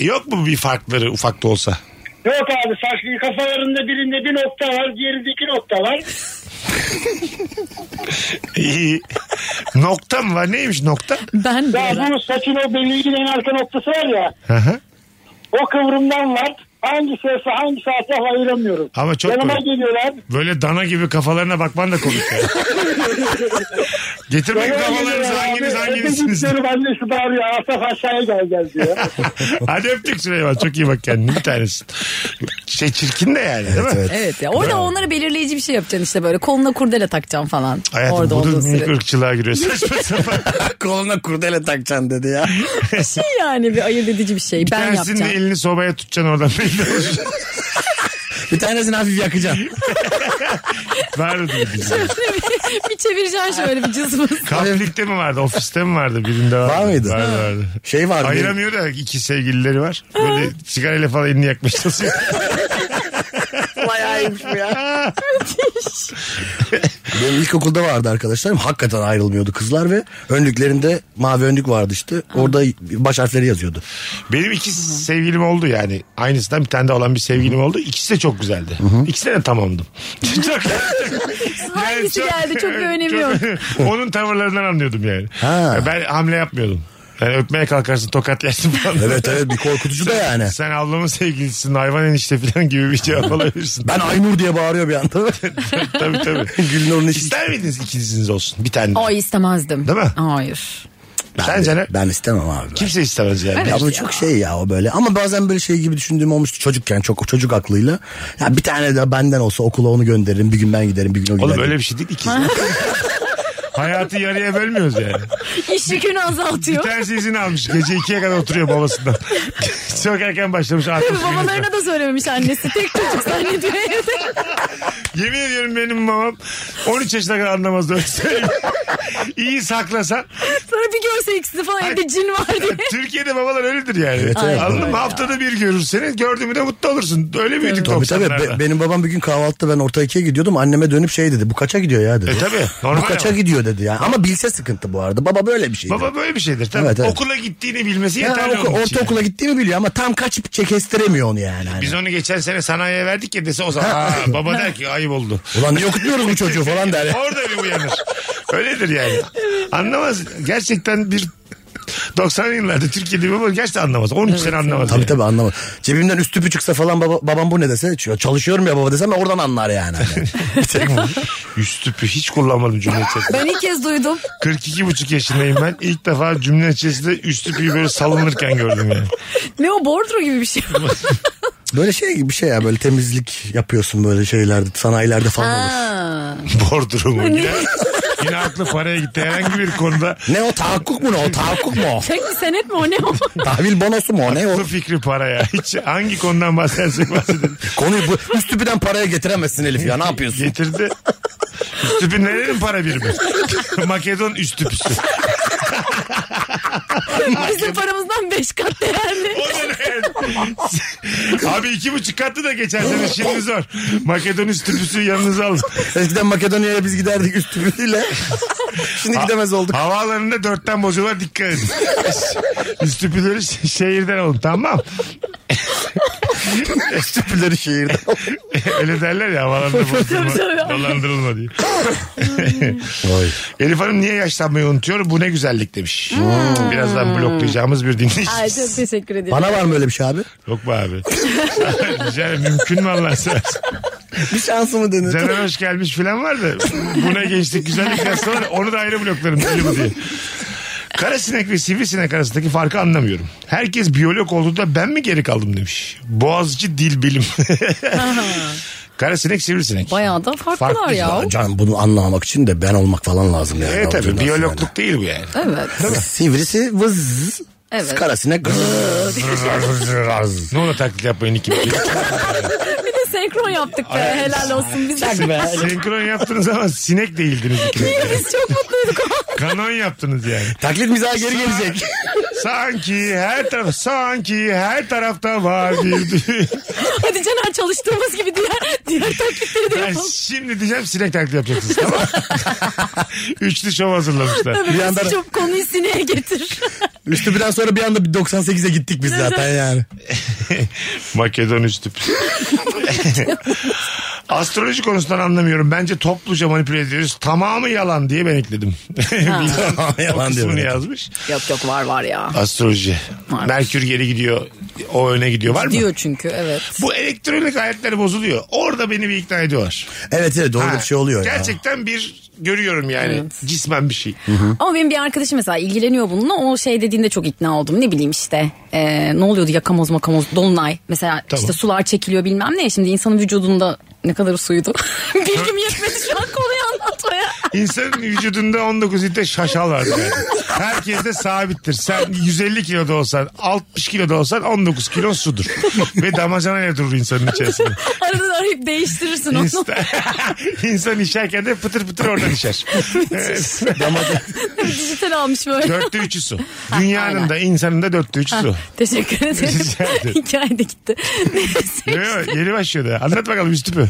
A: E, Yok mu bir farkları ufak da olsa?
G: Yok abi saç kafalarında birinde bir nokta var diğerindeki nokta var.
A: İyi. nokta mı var? Neymiş nokta?
C: Ben de.
G: Ya bunun saçın o belli en arka noktası var ya.
A: Hı hı.
G: O kıvrımdan var. Hangisi efe hangisi asaf ayıramıyorum.
A: Ama çok
G: Yanıma
A: komik.
G: geliyorlar.
A: Böyle dana gibi kafalarına bakman da komik ya. Getirmeyin
G: Yanıma
A: kafalarınızı
G: geliyorlar
A: hanginiz
G: abi.
A: hanginizsiniz.
G: Öteki diyorum, annesi bağırıyor asaf aşağıya gel gel diyor.
A: Hadi öptük Süleyman. Çok iyi bak kendine bir tanesin. Şey çirkin de yani değil mi?
C: Evet ya orada onlara belirleyici bir şey yapacaksın işte böyle koluna kurdele takacaksın falan.
A: Hayatım
C: orada
A: bu da
C: olduğun
A: minik
C: süre.
A: ırkçılığa giriyor.
C: (laughs)
A: Saçma sapan.
B: (laughs) Koluna kurdele takacaksın dedi ya.
C: Şey yani (laughs) bir ayırt edici bir şey ben
A: Tersin de
C: yapacağım.
A: elini sobaya tutacaksın oradan belli olsun.
B: Bir tanesini hafif yakacaksın.
A: Vardı bir
C: (laughs) bir, bir çevireceksin şöyle bir cızmız.
A: Kamplikte mi vardı? Ofiste mi vardı? Birinde vardı.
B: Var mıydı?
A: Vardı
B: Ha.
A: vardı.
B: Şey vardı.
A: Ayıramıyor da iki sevgilileri var. Böyle sigarayla falan elini yakmaya
B: (laughs)
A: çalışıyor.
B: Bayağıymış bu ya. Benim ilkokulda vardı arkadaşlarım. Hakikaten ayrılmıyordu kızlar ve önlüklerinde mavi önlük vardı işte. Orada baş harfleri yazıyordu.
A: Benim iki sevgilim oldu yani. Aynısından bir tane de olan bir sevgilim oldu. İkisi de çok güzeldi. İkisine de
B: (laughs)
A: tamamdım. çok,
C: Hangisi geldi çok bir önemi yok.
A: çok- (laughs) onun tavırlarından anlıyordum yani.
B: Ha.
A: Ben hamle yapmıyordum. Yani öpmeye kalkarsın tokatlarsın falan.
B: Evet evet bir korkutucu da
A: (laughs)
B: yani.
A: Sen ablamın sevgilisisin hayvan enişte falan gibi bir cevap alabilirsin.
B: Ben Aynur diye bağırıyor bir anda.
A: (laughs) tabii tabii.
B: Gülnur'un işi.
A: İster miydiniz ikiniziniz olsun? Bir tane.
C: Ay istemezdim.
A: Değil mi?
C: Hayır.
A: Sence ne?
B: Ben istemem abi.
A: Kimse istemez yani.
B: Ya bu çok şey ya o böyle. Ama bazen böyle şey gibi düşündüğüm olmuştu çocukken çok çocuk aklıyla. Ya bir tane de benden olsa okula onu gönderirim. Bir gün ben giderim bir gün o gider.
A: Oğlum öyle bir şey değil ikiz. (laughs) Hayatı yarıya bölmüyoruz yani.
C: İş yükünü
A: Bir
C: azaltıyor.
A: tanesi izin almış. Gece ikiye kadar oturuyor babasından. (laughs) Çok erken başlamış.
C: Tabii
A: arkadaşı
C: babalarına da söylememiş annesi. Tek çocuk zannediyor evde.
A: geliyor. Yemin ediyorum benim babam 13 yaşına kadar anlamazdı. Öyle söyleyeyim. (laughs) İyi saklasa.
C: Sonra bir görse ikisi falan evde cin var diye.
A: Türkiye'de babalar öyledir yani.
B: Evet, evet.
A: Anladın mı?
C: Öyle.
A: Haftada bir görür seni. Gördüğümü de mutlu olursun. Öyle büyüdük
B: Tabii tabii.
A: 90'larda.
B: Be- benim babam bir gün kahvaltıda ben orta ikiye gidiyordum. Anneme dönüp şey dedi. Bu kaça gidiyor ya dedi.
A: E tabii, normal
B: Bu kaça
A: ama.
B: gidiyor dedi ya. Ama bilse sıkıntı bu arada. Baba böyle bir şey.
A: Baba böyle bir şeydir. Tabii.
B: Evet, evet.
A: Okula gittiğini bilmesi
B: ya,
A: yeterli.
B: oku-
A: onun için.
B: ortaokula gittiğimi biliyor ama tam kaçıp çekestiremiyor onu yani. Hani.
A: Biz onu geçen sene sanayiye verdik ya dese o zaman
B: Ha.
A: "Aa, baba der ki ayıp oldu.
B: Ulan niye okutmuyoruz bu çocuğu falan der. ya.
A: Orada bir uyanır. Öyledir yani. Anlamaz. Gerçekten bir 90'lı yıllarda Türkiye'de bir baba gerçekten anlamaz. 13 sene anlamaz.
B: Tabii
A: yani.
B: tabii anlamadım. Cebimden üst tüpü çıksa falan baba, babam bu ne dese "Ç- çalışıyorum ya baba desem oradan
A: (laughs)
B: anlar yani. Hani.
A: Bir tek bu. Üst tüpü hiç kullanmadım cümle içerisinde.
C: Ben ilk kez duydum.
A: 42 buçuk yaşındayım ben. İlk defa cümle içerisinde üst tüpü böyle salınırken gördüm yani.
C: Ne o bordro gibi bir şey.
B: Böyle şey gibi bir şey ya böyle temizlik yapıyorsun böyle şeylerde sanayilerde falan olur.
C: Ha.
A: Bordro mu? Yine, yine aklı paraya gitti. Herhangi bir konuda
B: Ne o tahakkuk mu ne o tahakkuk
C: (laughs)
B: mu o?
C: Tek bir senet mi o ne o?
B: Tahvil bonosu mu o ne o?
A: bu fikri paraya. Hiç hangi konudan bahsedersek bahsedelim.
B: Konuyu bu, üst tüpüden paraya getiremezsin Elif ya ne
C: (laughs)
B: yapıyorsun?
A: Getirdi. Üst tüpü nelerin para birimi? Makedon üst tüpüsü.
C: Bizim paramızdan beş kat değerli.
A: O da ne? Abi iki buçuk katlı da geçen sene şimdi zor. Makedon üst tüpüsü yanınıza alın.
B: Eskiden Makedonya'ya biz giderdik üst
C: (laughs)
B: tüpüyle. Şimdi gidemez olduk.
A: Havaalanında dörtten bozuyorlar dikkat edin. üst tüpüleri ş- şehirden alın tamam.
B: Üst tüpüleri şehirde.
A: Öyle derler ya havaalanında bozdurma, dolandırılma diye. Elif Hanım niye yaşlanmayı unutuyor? Bu ne güzellik demiş. Birazdan bloklayacağımız bir
C: Ay
A: dinleyici.
C: çok teşekkür ederim.
B: Bana var mı öyle bir şey abi?
A: Yok be abi. (laughs) Rica ederim, mümkün mü Allah'ın seversen?
B: Bir şansımı denir.
A: Caner hoş gelmiş falan var da buna gençlik güzellik yaşta var onu da ayrı bloklarım deli bu diye. Karasinek ve sivrisinek arasındaki farkı anlamıyorum. Herkes biyolog olduğunda ben mi geri kaldım demiş. Boğazcı dil bilim. Karasinek sivrisinek.
C: Bayağı da farklılar
A: Farklı
C: ya. E,
B: Can bunu anlamamak için de ben olmak falan lazım yani.
A: Evet E, tabii
B: Altından
A: biyologluk değil bu yani.
C: Evet.
B: sonra. Sivrisi vız.
C: Evet.
B: Karasine gırrrr.
A: ne olur taklit yapmayın ikimiz.
C: Bir de senkron yaptık be. Helal olsun bize. (laughs)
A: Senkron yaptınız ama sinek değildiniz ikiniz.
C: Biz çok mutluyduk. (laughs)
A: Kanon yaptınız yani.
B: Taklit mizahı geri gelecek.
A: Sanki her taraf sanki her tarafta var bir
C: Hadi Caner çalıştığımız gibi diğer diğer taklitleri de
A: Ben
C: yapalım.
A: şimdi diyeceğim sinek taklidi yapacaksınız tamam
B: (laughs)
A: mı? Üçlü şov hazırlamışlar.
C: Tabii
B: Bir
C: bir
B: yandan-
C: çok konuyu sineğe getir. (laughs)
B: Üst tüpüden sonra bir anda bir 98'e
A: (laughs)
B: gittik biz zaten yani. (laughs)
A: Makedon üstü. Astroloji konusundan anlamıyorum. Bence topluca manipüle ediyoruz. Tamamı yalan diye ben ekledim. (laughs) Bilmem
B: Tamamı
A: yalan
B: yalan
A: o kısmını
B: diyor.
A: yazmış.
C: Yok yok var var ya.
A: Astroloji.
C: Var.
A: Merkür geri gidiyor. O öne gidiyor. Var mı?
C: Diyor çünkü evet.
A: Bu elektronik aletler bozuluyor. Orada beni bir ikna ediyorlar.
B: Evet evet doğru
A: Ha,
B: bir şey oluyor ya.
A: Gerçekten bir görüyorum yani. Cismen bir şey.
C: Ama benim bir arkadaşım mesela ilgileniyor bununla. O şey dediğinde çok ikna oldum. Ne bileyim işte e, ne oluyordu yakamoz makamoz dolunay. Mesela
A: Tamam.
C: işte sular çekiliyor bilmem ne. ya. Şimdi insanın vücudunda ne kadar suydu. (laughs) Bilgim yetmedi şu an konuyu anlatmaya. (laughs)
A: İnsanın vücudunda 19 litre şaşal var. Yani. Herkes de sabittir. Sen 150 kilo da olsan 60 kilo da olsan 19 kilo sudur. Ve damacanayla durur insanın
C: (laughs)
A: içerisinde.
C: Arada da arayıp değiştirirsin onu.
A: İnsan, (laughs) insan işerken de pıtır pıtır oradan işer.
C: Dijital almış böyle.
A: dörtte üçü su. Dünyanın
C: aynen.
A: da insanın da dörtte üçü su.
C: (laughs) Teşekkür
A: Rica ederim.
C: ederim. (laughs) Hikaye de gitti. Neyse.
A: Yok, yeni başlıyordu. Anlat bakalım üstüpü.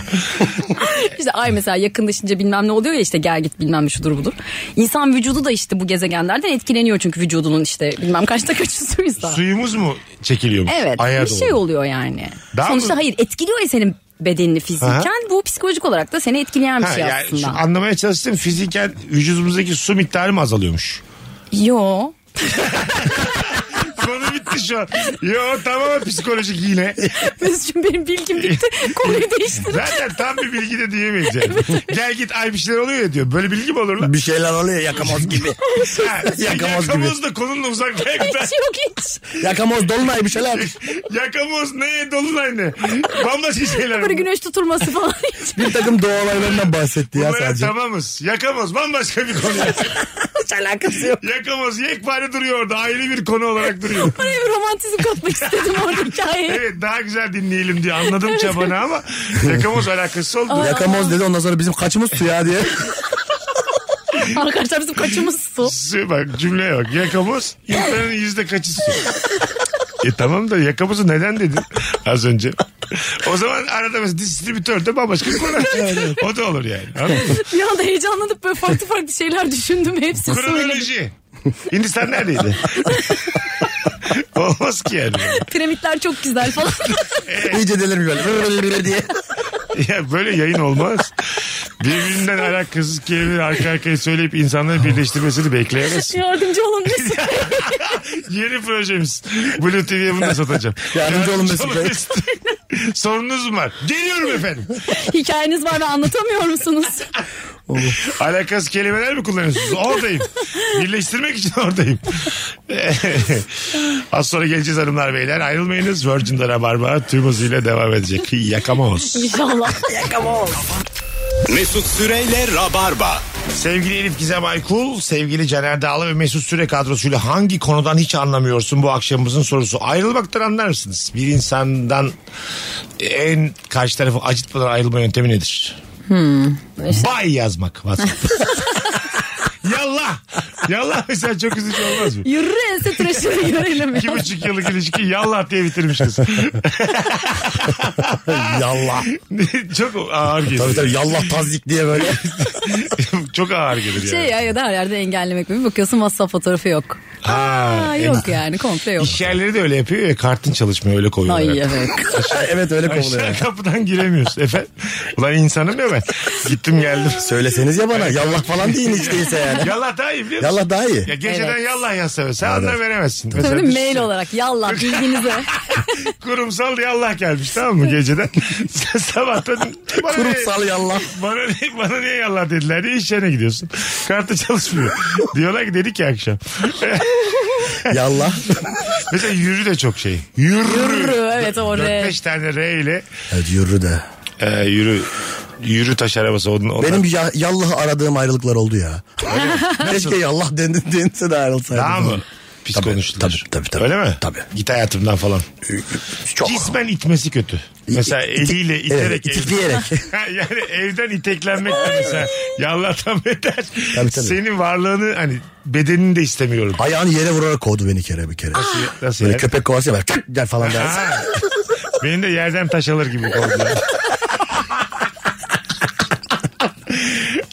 C: İşte ay mesela yakınlaşınca bilmem ne oluyor ya işte gel git bilmem ne şudur budur. İnsan vücudu da işte bu gezegenlerden etkileniyor çünkü vücudunun işte bilmem kaçta kaçı suysa.
A: Suyumuz mu çekiliyor?
C: Evet
A: Ayar
C: bir şey
A: doğru.
C: oluyor yani.
A: Daha
C: Sonuçta
A: mı-
C: hayır etkiliyor ya senin bedenini fiziken
A: Aha.
C: bu psikolojik olarak da seni etkileyen bir
A: Ha,
C: şey
A: yani şu
C: aslında.
A: anlamaya çalıştım fiziken vücudumuzdaki su miktarı mı azalıyormuş?
C: Yo. (laughs)
A: Konu bitti şu an. Yo tamam psikolojik yine.
C: Mesut'cum benim
A: (laughs)
C: bilgim bitti. Konuyu değiştir.
A: Zaten tam bir bilgi de diyemeyiz yani. Gel git ay bir şeyler oluyor ya diyor. Böyle bilgi mi olur lan?
B: Bir şeyler oluyor yakamoz gibi.
A: Ha,
B: Yakamoz gibi.
A: Yakamoz da konunun uzak
C: Hiç yok hiç.
B: Yakamoz dolunay bir şeyler.
A: Yakamoz ne dolunay ne? Bambaşka şeyler.
C: Böyle güneş tutulması
A: (laughs)
C: falan. hiç.
B: Bir takım doğa olaylarından bahsetti ya
A: Bunlara
B: sadece.
A: tamamız. Yakamoz bambaşka
B: (laughs)
A: bir konu.
C: hiç alakası yok.
A: Yakamoz yekpare duruyor orada. Ayrı bir konu olarak duruyor.
C: Oraya bir romantizm katmak istedim orada hikayeye.
A: Evet daha güzel dinleyelim diye anladım çabanı ama yakamoz alakası oldu.
B: Yakamoz dedi ondan sonra bizim kaçımız su
A: (laughs)
B: ya diye.
C: Arkadaşlar bizim (laughs) kaçımız su.
A: Su- bak cümleye bak yakamoz insanın yüzde kaçı su. E tamam da yakamozu neden dedin az önce? O zaman arada mesela distribütör de bambaşka bir konu. o da olur yani. Anladın mı?
C: Bir anda heyecanlanıp böyle farklı farklı şeyler düşündüm. Hepsi söyledim.
A: Kronoloji. Hindistan neredeydi? (laughs) Olmaz ki yani.
C: Piramitler çok güzel
A: (laughs)
C: falan.
B: İyice delirmiş böyle. Böyle (laughs) diye.
A: Ya böyle yayın olmaz. Birbirinden alakasız kelimeleri arka arkaya söyleyip insanları birleştirmesini bekleyemez. (laughs)
C: Yardımcı olun Mesut.
A: Yeni projemiz. Blue TV'ye bunu da satacağım.
B: Yardımcı olun Mesut Bey.
A: Mesut. (laughs) Sorunuz mu var? Geliyorum efendim.
C: Hikayeniz var ve anlatamıyor musunuz?
A: Alakasız kelimeler mi kullanıyorsunuz? Oradayım. Birleştirmek için oradayım. (laughs) Az sonra geleceğiz hanımlar beyler. Ayrılmayınız. Virgin'de Rabarba tüm hızıyla devam edecek. Yakamoz.
C: İnşallah.
E: Mesut Süreyle Rabarba.
A: Sevgili Elif Gizem Aykul, sevgili Caner Dağlı ve Mesut Süre kadrosuyla hangi konudan hiç anlamıyorsun bu akşamımızın sorusu. Ayrılmaktan anlar mısınız? Bir insandan en karşı tarafı acıtmadan ayrılma yöntemi nedir?
C: Hmm.
A: Bay yazmak.
C: (laughs)
A: WhatsApp. yallah. Yallah mesela çok üzücü olmaz mı?
C: Yürü ense tıraşını Şey görelim.
A: İki buçuk yıllık ilişki yallah diye bitirmiş kız.
B: Yallah.
A: (laughs) çok ağır
B: Tabii
A: gelir.
B: tabii yallah tazik
A: (laughs)
B: diye böyle.
A: çok ağır gelir yani.
C: Şey ya, ya da her yerde engellemek mi? Bakıyorsun WhatsApp fotoğrafı yok. Aa, yok yani komple yok.
A: İş yerleri de öyle yapıyor ya kartın çalışmıyor öyle koyuyorlar.
C: Ay
A: hep.
C: evet.
B: evet öyle
A: Aşağı
B: kovuluyor.
A: kapıdan giremiyoruz efendim. Ulan insanım ya ben. Gittim geldim.
B: Söyleseniz ya bana. Yallah falan deyin hiç değilse yani.
A: Yallah daha iyi biliyor musun?
B: Yallah daha iyi.
A: Ya geceden
C: Evet.
A: yallah yazsa sen anlam veremezsin.
C: Tabii
A: Mesela
C: mail olarak yallah bilginize.
A: (laughs) Kurumsal yallah gelmiş tamam mı
B: (laughs)
A: geceden? Sen sabahtan bana
B: Kurumsal
A: niye, (laughs)
B: yallah.
A: bana, niye, bana niye yallah dediler diye iş yerine gidiyorsun. Kartı çalışmıyor. Diyorlar ki dedik ya akşam. (laughs)
B: Yallah.
A: Mesela yürü de çok şey. Yürü.
C: Yürü, evet, o
A: Dört
C: R.
A: beş tane R ile
B: Evet yürü de.
A: e, yürü. Yürü taş arabası. Onun, onun
B: Benim bir ya- yallahı aradığım ayrılıklar oldu ya. Keşke yallah dendi, dense de ayrılsaydım.
A: Daha mı? Pis
B: Tabii,
A: konuştular.
B: tabii, tabii, tabii.
A: Öyle mi?
B: Tabii.
A: Git hayatımdan falan.
B: Çok.
A: Cismen itmesi kötü. Mesela
B: İ-
A: eliyle
B: iti-
A: iterek.
B: evet,
A: ev- (laughs)
B: itikleyerek.
A: yani evden iteklenmek de mesela. Yallahtan (laughs) beter.
B: Tabii, tabii.
A: Senin varlığını hani bedenini de istemiyorum.
B: Ayağını yere vurarak kovdu beni kere bir kere.
A: Nasıl
B: Böyle
A: yani?
B: köpek kovarsa ya böyle "Kık!" der falan
A: (laughs)
B: dersin.
A: Ha. Beni de yerden taş
B: (laughs)
A: alır gibi kovdular.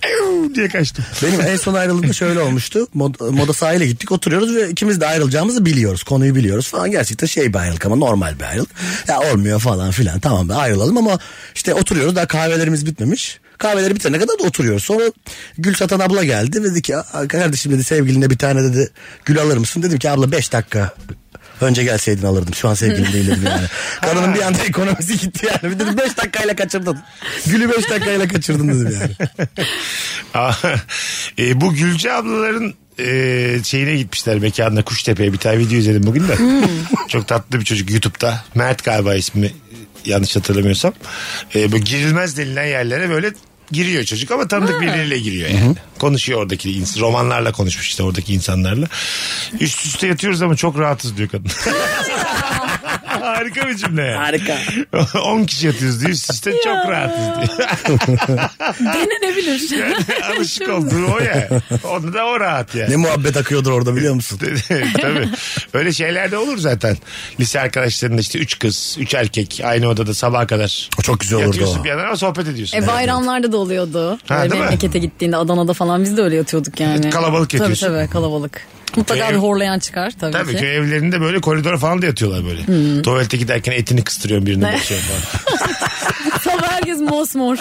A: Ev diye kaçtım.
B: Benim en son ayrıldığımda şöyle olmuştu. Mod- moda sahile gittik oturuyoruz ve ikimiz de ayrılacağımızı biliyoruz. Konuyu biliyoruz falan. Gerçekten şey bir ayrılık ama normal bir ayrılık. Ya olmuyor falan filan. Tamam da ayrılalım ama işte oturuyoruz daha kahvelerimiz bitmemiş. Kahveleri bitene kadar da oturuyoruz. Sonra gül satan abla geldi. Dedi ki "Aa, kardeşim dedi sevgiline bir tane dedi gül alır mısın? Dedim ki abla 5 dakika Önce gelseydin alırdım. Şu an sevgilim değilim yani. (laughs) Kadının bir anda ekonomisi gitti yani. Bir dedim 5 dakikayla kaçırdın. Gülü 5 dakikayla kaçırdın dedim yani.
A: Aa, (laughs) e, bu Gülce ablaların e, şeyine gitmişler mekanına Kuştepe'ye bir tane video izledim bugün de. Çok tatlı bir çocuk YouTube'da. Mert galiba ismi yanlış hatırlamıyorsam. E, böyle girilmez denilen yerlere böyle giriyor çocuk ama tanıdık birileriyle giriyor yani. Konuşuyor oradaki ins- romanlarla konuşmuş işte oradaki insanlarla. Üst üste yatıyoruz ama çok rahatız diyor kadın. Harika bir cümle yani. (laughs) Harika. 10 kişi yatıyoruz diyor üst üste çok rahatız diyor.
C: (laughs)
A: (laughs)
C: Denenebilir.
A: Alışık olduğu o ya. Onda da o rahat yani. (laughs)
B: Ne muhabbet akıyordur orada biliyor musun?
A: Tabii. Öyle şeyler de olur zaten. Lise arkadaşlarında işte üç kız, üç erkek aynı odada sabaha kadar.
B: O çok güzel olurdu
A: Yatıyorsun
B: o.
A: bir yandan ama sohbet ediyorsun.
C: E bayramlarda da oluyordu.
A: Ha,
C: Böyle
A: değil mi? E,
C: memlekete gittiğinde Adana'da falan biz de öyle yatıyorduk yani.
A: Kalabalık yatıyorsun.
C: Tabii tabii kalabalık. Mutlaka
A: Ev-
C: bir horlayan çıkar tabii,
A: Tabii
C: ki.
A: köy evlerinde böyle koridora falan da yatıyorlar böyle.
C: Hmm.
A: Tuvalete giderken etini kıstırıyorsun birine bakıyorsun falan.
C: Sabah
A: (laughs)
C: herkes mosmor.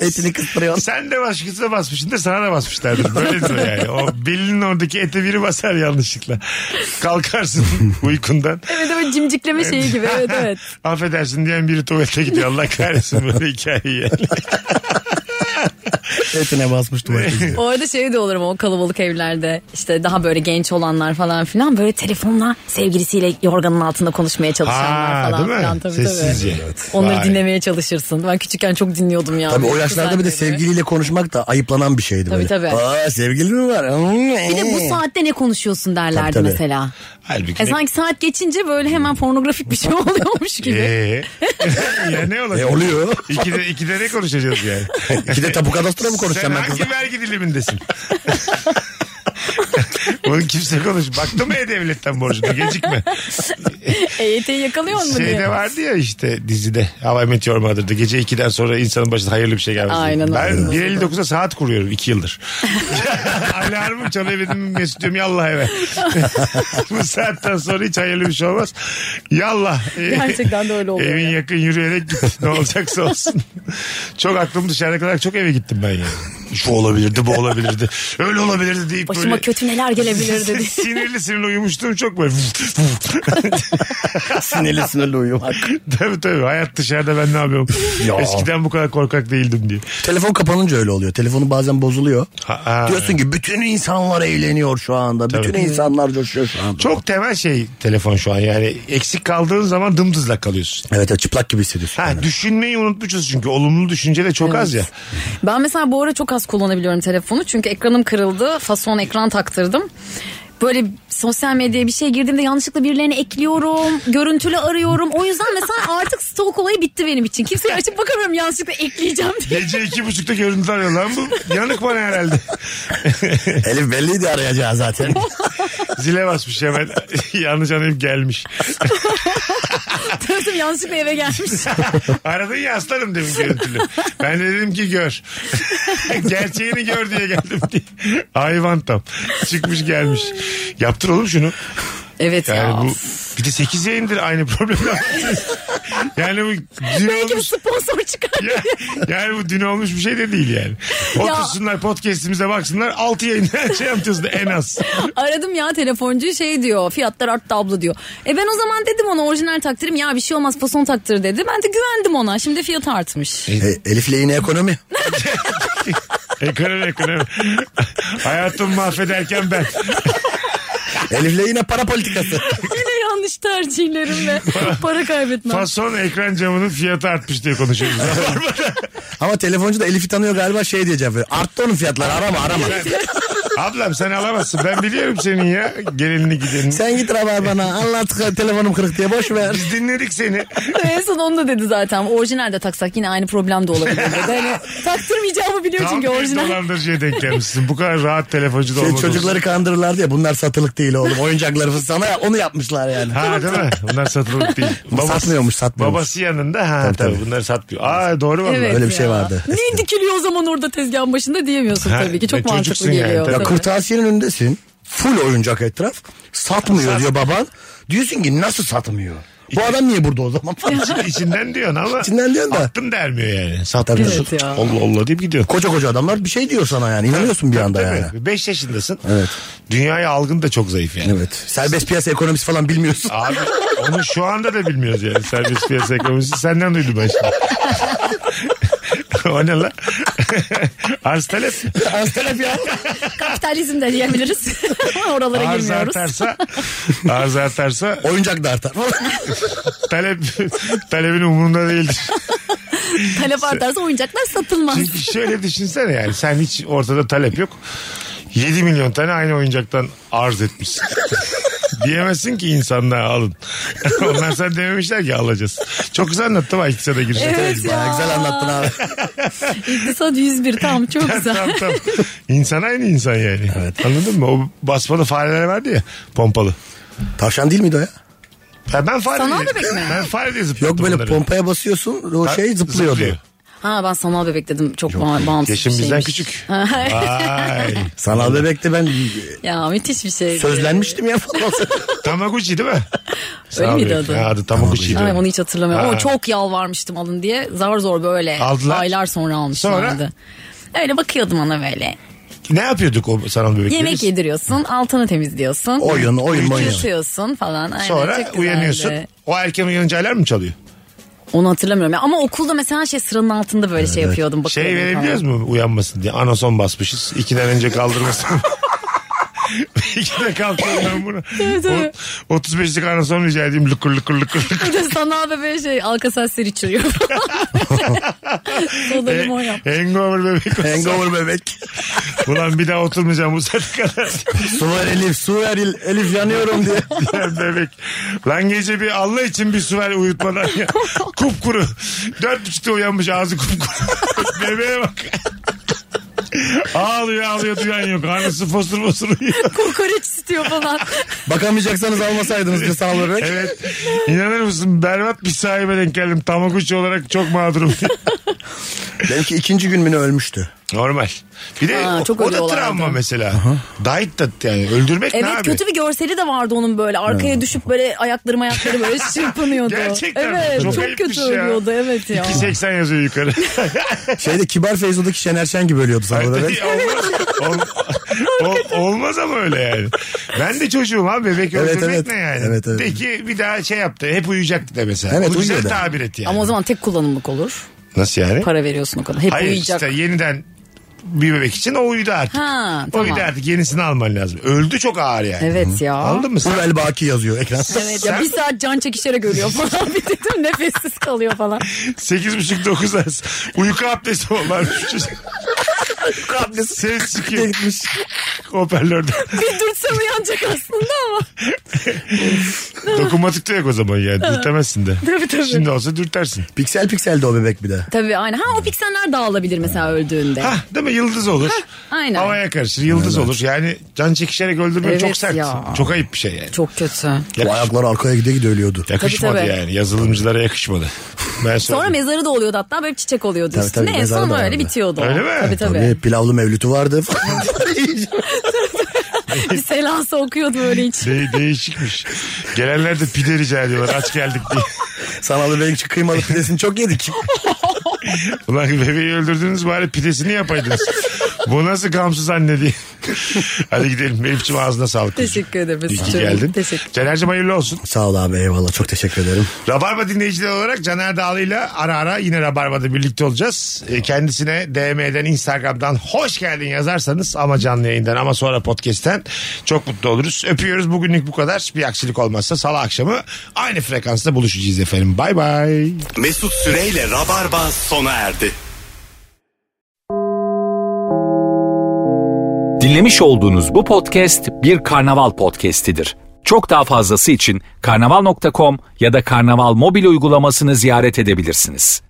B: Etini kıstırıyor.
A: Sen de başkasına basmışsın da sana da basmışlardır. Böyle diyor yani. O belinin oradaki ete biri basar yanlışlıkla.
B: (laughs)
A: Kalkarsın uykundan.
C: evet evet cimcikleme şeyi gibi evet evet.
A: (laughs) Affedersin diyen biri tuvalete gidiyor. Allah kahretsin böyle hikayeyi.
B: (laughs)
A: yani.
B: Etine basmış tuvalete gidiyor.
C: O arada şey de olur ama o kalabalık evlerde işte daha böyle genç olanlar falan filan böyle telefonla sevgilisiyle yorganın altında konuşmaya çalışanlar
A: Ha,
C: falan
A: değil mi?
C: filan tabii
A: Sessizce.
C: tabii.
A: Evet.
C: Onları
A: Vay.
C: dinlemeye çalışırsın. Ben küçükken çok dinliyordum ya.
B: Tabii o
C: Kız
B: yaşlarda bir de
C: anneleri.
B: sevgiliyle konuşmak da ayıplanan bir şeydi
C: Tabii,
B: böyle.
C: tabii.
B: Aa sevgili mi var?
C: Bir de
B: (laughs)
C: bu saatte ne konuşuyorsun derlerdi
B: Ee. Tabii, tabii.
C: mesela.
A: Halbuki
C: E
A: ne-
C: sanki saat geçince böyle hemen pornografik bir şey (laughs) oluyormuş gibi.
A: Hmm. Ee, (laughs) ya ne olacak?
B: E oluyor.
A: İkide, ikide ne konuşacağız
B: (laughs)
A: yani?
B: İki de tapu kadastro mu
A: Sen
B: konuşacağım ben
A: hangi
B: kızla?
A: vergi dilimindesin? (laughs) Bunu kimse konuş. Baktı mı E-Devlet'ten borcuna gecikme.
C: EYT'yi E yakalıyor mu diye.
A: Şeyde vardı ya işte dizide How I Met Your Mother'da gece 2'den sonra insanın başına hayırlı bir şey gelmez.
C: Aynen,
A: ben
C: aynen.
A: 1.59'a saat kuruyorum 2
C: (laughs)
A: yıldır. Alarmım çalıyor benim mesut diyorum yallah eve. (laughs) Bu saatten sonra hiç hayırlı bir şey olmaz. Yallah.
C: Gerçekten de öyle oluyor
A: Evin
C: ya.
A: yakın yürüyerek git. Ne olacaksa olsun. çok aklım dışarıda kadar çok eve gittim ben yani. Şu olabilirdi bu olabilirdi. Öyle olabilirdi deyip
C: Başıma
A: böyle-
C: kötü neler
A: (laughs)
C: gelebilir dedi.
A: sinirli sinirli uyumuştum çok
C: (laughs)
A: böyle.
B: Sinirli
A: (laughs)
B: sinirli uyumak.
A: tabii tabii hayat dışarıda ben ne yapıyorum.
B: Ya.
A: Eskiden bu kadar korkak değildim diye.
B: Telefon kapanınca öyle oluyor. Telefonu bazen bozuluyor.
A: Ha- ha.
B: Diyorsun ki bütün insanlar eğleniyor şu anda. Bütün insanlar coşuyor şu anda.
A: Çok temel şey telefon şu an yani eksik kaldığın zaman dımdızlak kalıyorsun.
B: Evet evet, çıplak gibi hissediyorsun.
A: Ha,
B: kendini.
A: düşünmeyi unutmuşuz çünkü olumlu düşünce de çok az ya.
C: Ben mesela bu ara çok az kullanabiliyorum telefonu. Çünkü ekranım kırıldı. Fason ekran taktırdım. Böyle sosyal medyaya bir şey girdiğimde yanlışlıkla birilerini ekliyorum. Görüntülü arıyorum. O yüzden mesela artık stalk olayı bitti benim için. Kimseye açıp bakamıyorum yanlışlıkla ekleyeceğim (laughs) diye.
A: Gece iki buçukta görüntüler arıyor lan bu. Yanık bana herhalde.
B: Elif belliydi
A: (laughs)
B: arayacağı zaten.
A: Zile basmış hemen. (laughs) Yanlış anlayıp gelmiş.
C: Tanıtım yanlışlıkla
A: (laughs)
C: eve gelmiş.
A: Aradın ya aslanım demin görüntülü. Ben de dedim ki gör. (laughs) Gerçeğini gör diye geldim diye. Hayvan tam. Çıkmış gelmiş. Yaptır oğlum şunu.
C: Evet
A: Yani
C: ya.
A: bu bir de 8'e indir aynı
C: (laughs)
A: problemler. yani bu dün
C: Belki bir
A: olmuş.
C: sponsor çıkar.
A: (laughs) Ya, yani bu dün olmuş bir şey de değil yani. Otursunlar podcast'imize baksınlar 6 yayında (laughs) şey yapacağız da en az.
C: Aradım ya telefoncuyu şey diyor fiyatlar arttı abla diyor. E ben o zaman dedim ona orijinal taktırım ya bir şey olmaz fason taktır dedi. Ben de güvendim ona şimdi
A: (laughs)
C: fiyat artmış.
B: E, Elif'le yine
C: (laughs)
B: ekonomi.
A: Ekonomi ekonomi. (laughs) Hayatımı mahvederken ben.
B: Elif'le yine para politikası.
C: Yine yanlış
A: (laughs)
C: tercihlerim ve para kaybetmem.
A: Fason ekran camının fiyatı artmış diye
C: (laughs)
A: konuşuyoruz. (laughs)
B: Ama telefoncu da Elif'i tanıyor galiba şey diyeceğim. Böyle, Arttı onun fiyatları arama arama.
A: Ablam sen alamazsın. Ben biliyorum senin ya. Gelinini gidenini.
B: Sen git rabar bana anlat telefonum kırık diye boş ver. Şey,
A: Biz dinledik seni.
C: en son onu da dedi zaten. Orijinalde taksak yine aynı problem de olabilir dedi.
A: (laughs)
C: Hani taktırmayacağımı biliyor
A: Tam
C: çünkü
A: bir
C: orijinal.
A: dolandırıcıya denk gelmişsin. Bu kadar rahat telefoncu da
B: Şey,
A: olmadı.
B: çocukları kandırırlardı ya bunlar satılık değil oğlum. Oyuncakları falan sana onu yapmışlar yani.
A: Ha değil mi? Bunlar satılık
C: (laughs)
A: değil.
B: Satmıyormuş, satmıyormuş.
A: Babası yanında ha tabii,
B: Tabii, tabii.
A: bunları satmıyor. Aa doğru valla.
C: Evet
B: Öyle bir
C: ya.
B: şey vardı.
C: Ne dikiliyor o zaman orada tezgahın başında diyemiyorsun
A: Ha,
C: tabii ki.
A: ve
C: Çok
A: çocuksun
C: mantıklı
A: yani,
C: geliyor.
A: tabii.
B: Ya
C: tabii.
B: kırtasiyenin önündesin. Full oyuncak etraf. Satmıyor diyor baban. Diyorsun ki nasıl satmıyor? Bu adam niye burada o zaman? (laughs)
A: İçinden diyorsun ama.
B: İçinden diyorsun da.
A: Aklın dermiyor yani. Satmıyorsun.
B: Satmıyorsun.
C: Evet ya.
A: Allah Allah deyip gidiyorsun.
B: Koca koca adamlar bir şey diyor sana yani. İnanıyorsun bir anda yani.
A: 5 yaşındasın.
B: Evet.
A: Dünyaya algın da çok zayıf yani.
B: Evet. Serbest piyasa ekonomisi falan bilmiyorsun.
A: Abi onu şu anda da bilmiyoruz yani serbest piyasa ekonomisi. Senden duydum ben şimdi. (laughs) o ne lan? (laughs) Arz talep.
B: (laughs) Az
A: (laughs)
B: talep ya.
C: Kapitalizm de diyebiliriz. Oralara
A: Arz
C: girmiyoruz.
A: artarsa, arz artarsa
B: Oyuncak da artar.
A: talep talebin umurunda değildir.
C: Talep artarsa oyuncaklar satılmaz.
A: Çünkü şöyle düşünsene yani sen hiç ortada talep yok. 7 milyon tane aynı oyuncaktan arz etmişsin. (laughs) Diyemezsin ki insanlar alın. (laughs) Onlar sen dememişler ki alacağız. Çok güzel anlattım ha iktisada girişte.
C: Evet ya.
B: Bayağı güzel anlattın abi.
C: İktisat 101 tam çok
A: (laughs) (laughs) tamam
C: güzel.
A: tamam. İnsan aynı insan yani. Anladın mı? O basmalı fareler vardı ya pompalı.
B: (laughs) Tavşan değil miydi o ya?
A: Ha, ben fare
C: Sanal
A: diye-
C: bebek mi?
A: Ben fare diye zıplattım
B: Yok böyle
A: bunları.
B: pompaya basıyorsun o
A: Ha,
B: şey zıplıyordu.
A: zıplıyor.
C: Ha ben sanal bebek dedim. Çok ba- bağımsız
A: Yaşım
C: bir
A: bizden
C: şeymiş.
A: küçük.
C: Ha,
A: Vay.
B: Sanal bebekte ben
C: (laughs) ya müthiş bir şey.
B: sözlenmiştim (laughs) ya falan.
A: Tamaguchi değil mi?
C: Öyle miydi
A: Sanal bebek.
C: adı?
A: Ha, adı Tamaguchi'ydi.
C: Ay onu hiç hatırlamıyorum.
A: Ha.
C: Ama çok yalvarmıştım alın diye. Zar zor böyle
A: Aldılar.
C: aylar sonra almışlardı.
A: Sonra?
C: Öyle bakıyordum ona böyle.
A: Ne yapıyorduk o sanal bebekleri?
C: Yemek yediriyorsun, altını temizliyorsun.
B: Oyun, oyun, oyun.
C: Yatıyorsun falan. Aynen, çok
A: Sonra
C: güzeldi.
A: uyanıyorsun. O erken uyanınca alarm mı çalıyor?
C: Onu hatırlamıyorum. ya. Ama okulda mesela şey sıranın altında böyle şey yapıyordum.
A: Şey
C: bakıyordum
A: verebiliyoruz
C: falan.
A: mu uyanmasın diye? Anason basmışız. İkiden önce kaldırmasın. (laughs) İkide kalkıyorum ben bunu.
C: tabii.
A: O- 35'lik anason rica edeyim. Lıkır lıkır lıkır lıkır.
C: (laughs) Bir de sanal bebeğe şey alka sesleri içiriyor.
A: (laughs)
C: Soda limon yap.
A: Hangover bebek olsa.
B: Hangover bebek.
A: Ulan bir daha oturmayacağım bu saate kadar.
B: Su ver Elif, su ver El- Elif yanıyorum diye.
A: Diyen bebek. Lan gece bir Allah için bir su ver uyutmadan
C: (laughs)
A: ya. Kupkuru. Dört buçukta uyanmış ağzı kupkuru.
C: (laughs)
A: Bebeğe bak. Ağlıyor ağlıyor duyan yok. Karnısı fosur fosur uyuyor.
C: Kokoreç istiyor falan.
B: Bakamayacaksanız almasaydınız diye sanal bebek.
A: Evet. İnanır mısın berbat bir sahibe denk geldim. Tamaguchi olarak çok mağdurum.
C: (laughs)
B: Benimki ikinci gün beni ölmüştü.
A: Normal. Bir de
C: Ha,
A: o-
C: çok
A: o, da
C: ölüyorlar
A: travma
C: adam.
A: mesela. Dayt da yani öldürmek ne
C: Evet
A: abi?
C: kötü bir şey görseli de vardı onun böyle. Arkaya düşüp böyle ayakları ayakları
A: (laughs)
C: böyle çırpınıyordu.
A: Gerçekten mi?
C: Evet
A: Çok
C: çok,
A: ayıp bir
C: kötü
A: şey ya.
C: ölüyordu evet ya.
A: 2.80 yazıyor
C: (laughs)
A: yukarı.
B: Şeyde Kibar Feyzo'daki Şener Şen gibi ölüyordu
A: (laughs)
B: sanal bebek.
A: olmaz, Ol-
B: (laughs)
A: ol- olmaz ama öyle yani. Ben de çocuğum abi bebek
B: Evet,
A: öldürmek
B: evet.
A: ne yani?
B: Evet, evet.
A: De ki bir daha şey yaptı hep uyuyacaktı de mesela.
B: Evet,
A: Bu güzel
B: uyuyor da.
A: tabir et yani.
C: Ama o zaman tek kullanımlık olur.
A: Nasıl yani?
C: Para veriyorsun o kadar. Hep
A: Hayır
C: uyuyacak.
A: işte yeniden bir bebek için o uyudu artık.
C: Ha,
A: O
C: tamam.
A: uyudu artık yenisini alman lazım. Öldü çok ağır yani.
C: Evet ya.
A: Anladın mı?
B: Bu
A: Sen,
B: El Baki yazıyor ekran.
C: Evet ya bir saat can çekişerek
A: (laughs)
C: ölüyor falan. bir dedim nefessiz kalıyor falan.
A: 8.30-9 arası uyku abdesti olan Uyku abdesti. Ses çıkıyor. Gitmiş. Hoparlörden.
C: Bir dürtse uyanacak aslında ama.
A: Dokunmatik de yok o zaman yani. Dürtemezsin de.
C: Tabii, tabii.
A: Şimdi olsa dürtersin.
B: Piksel pikseldi o bebek bir de.
C: Tabii aynı. Ha o pikseller dağılabilir mesela öldüğünde.
A: Hah değil mi? Yıldız olur.
C: aynen.
A: Havaya karışır. Yıldız olur. Yani can çekişerek öldürmek
C: Evet
A: çok sert.
C: ya.
A: Çok ayıp bir şey yani.
C: Çok kötü.
B: Bu ayaklar arkaya gide gide ölüyordu.
A: Yakışmadı
C: Tabii, tabii.
A: yani. Yazılımcılara yakışmadı. Ben
C: Sonra
A: söyleyeyim.
C: mezarı da oluyordu hatta böyle çiçek oluyordu
B: Tabii,
C: üstüne.
B: tabii,
C: en
B: mezarı
C: son
B: da
C: böyle
B: vardı.
C: bitiyordu. o.
A: Öyle mi?
C: Tabii
B: Ve
C: tabii.
B: pilavlı mevlütü vardı. (laughs)
C: bir selası okuyordu böyle hiç.
A: De- değişikmiş. Gelenler de pide rica ediyorlar. Aç geldik
C: (laughs)
A: diye.
B: Sanal bebek için kıymalı pidesini çok (laughs) yedik.
A: Ulan bebeği öldürdünüz bari pidesini yapaydınız. Bu nasıl gamsız anne diye. Hadi gidelim. Elif'ciğim ağzına sağlık.
C: Teşekkür ederim.
A: İyi ki
C: Çok-
A: geldin.
C: Teşekkür.
A: Caner'cim hayırlı olsun.
B: Sağ ol abi eyvallah çok teşekkür ederim.
A: Rabarba dinleyicileri olarak Caner Dağlı'yla ara ara yine Rabarba'da birlikte olacağız. E, Kendisine DM'den Instagram'dan hoş geldin yazarsanız ama canlı yayından ama sonra podcast'ten çok mutlu oluruz. Öpüyoruz bugünlük bu kadar. Bir aksilik olmazsa salı akşamı aynı frekansta buluşacağız efendim. Bay bay.
E: Mesut Süreyle Rabarba sona erdi.
F: Dinlemiş olduğunuz bu podcast bir karnaval podcastidir. Çok daha fazlası için karnaval.com ya da karnaval mobil uygulamasını ziyaret edebilirsiniz.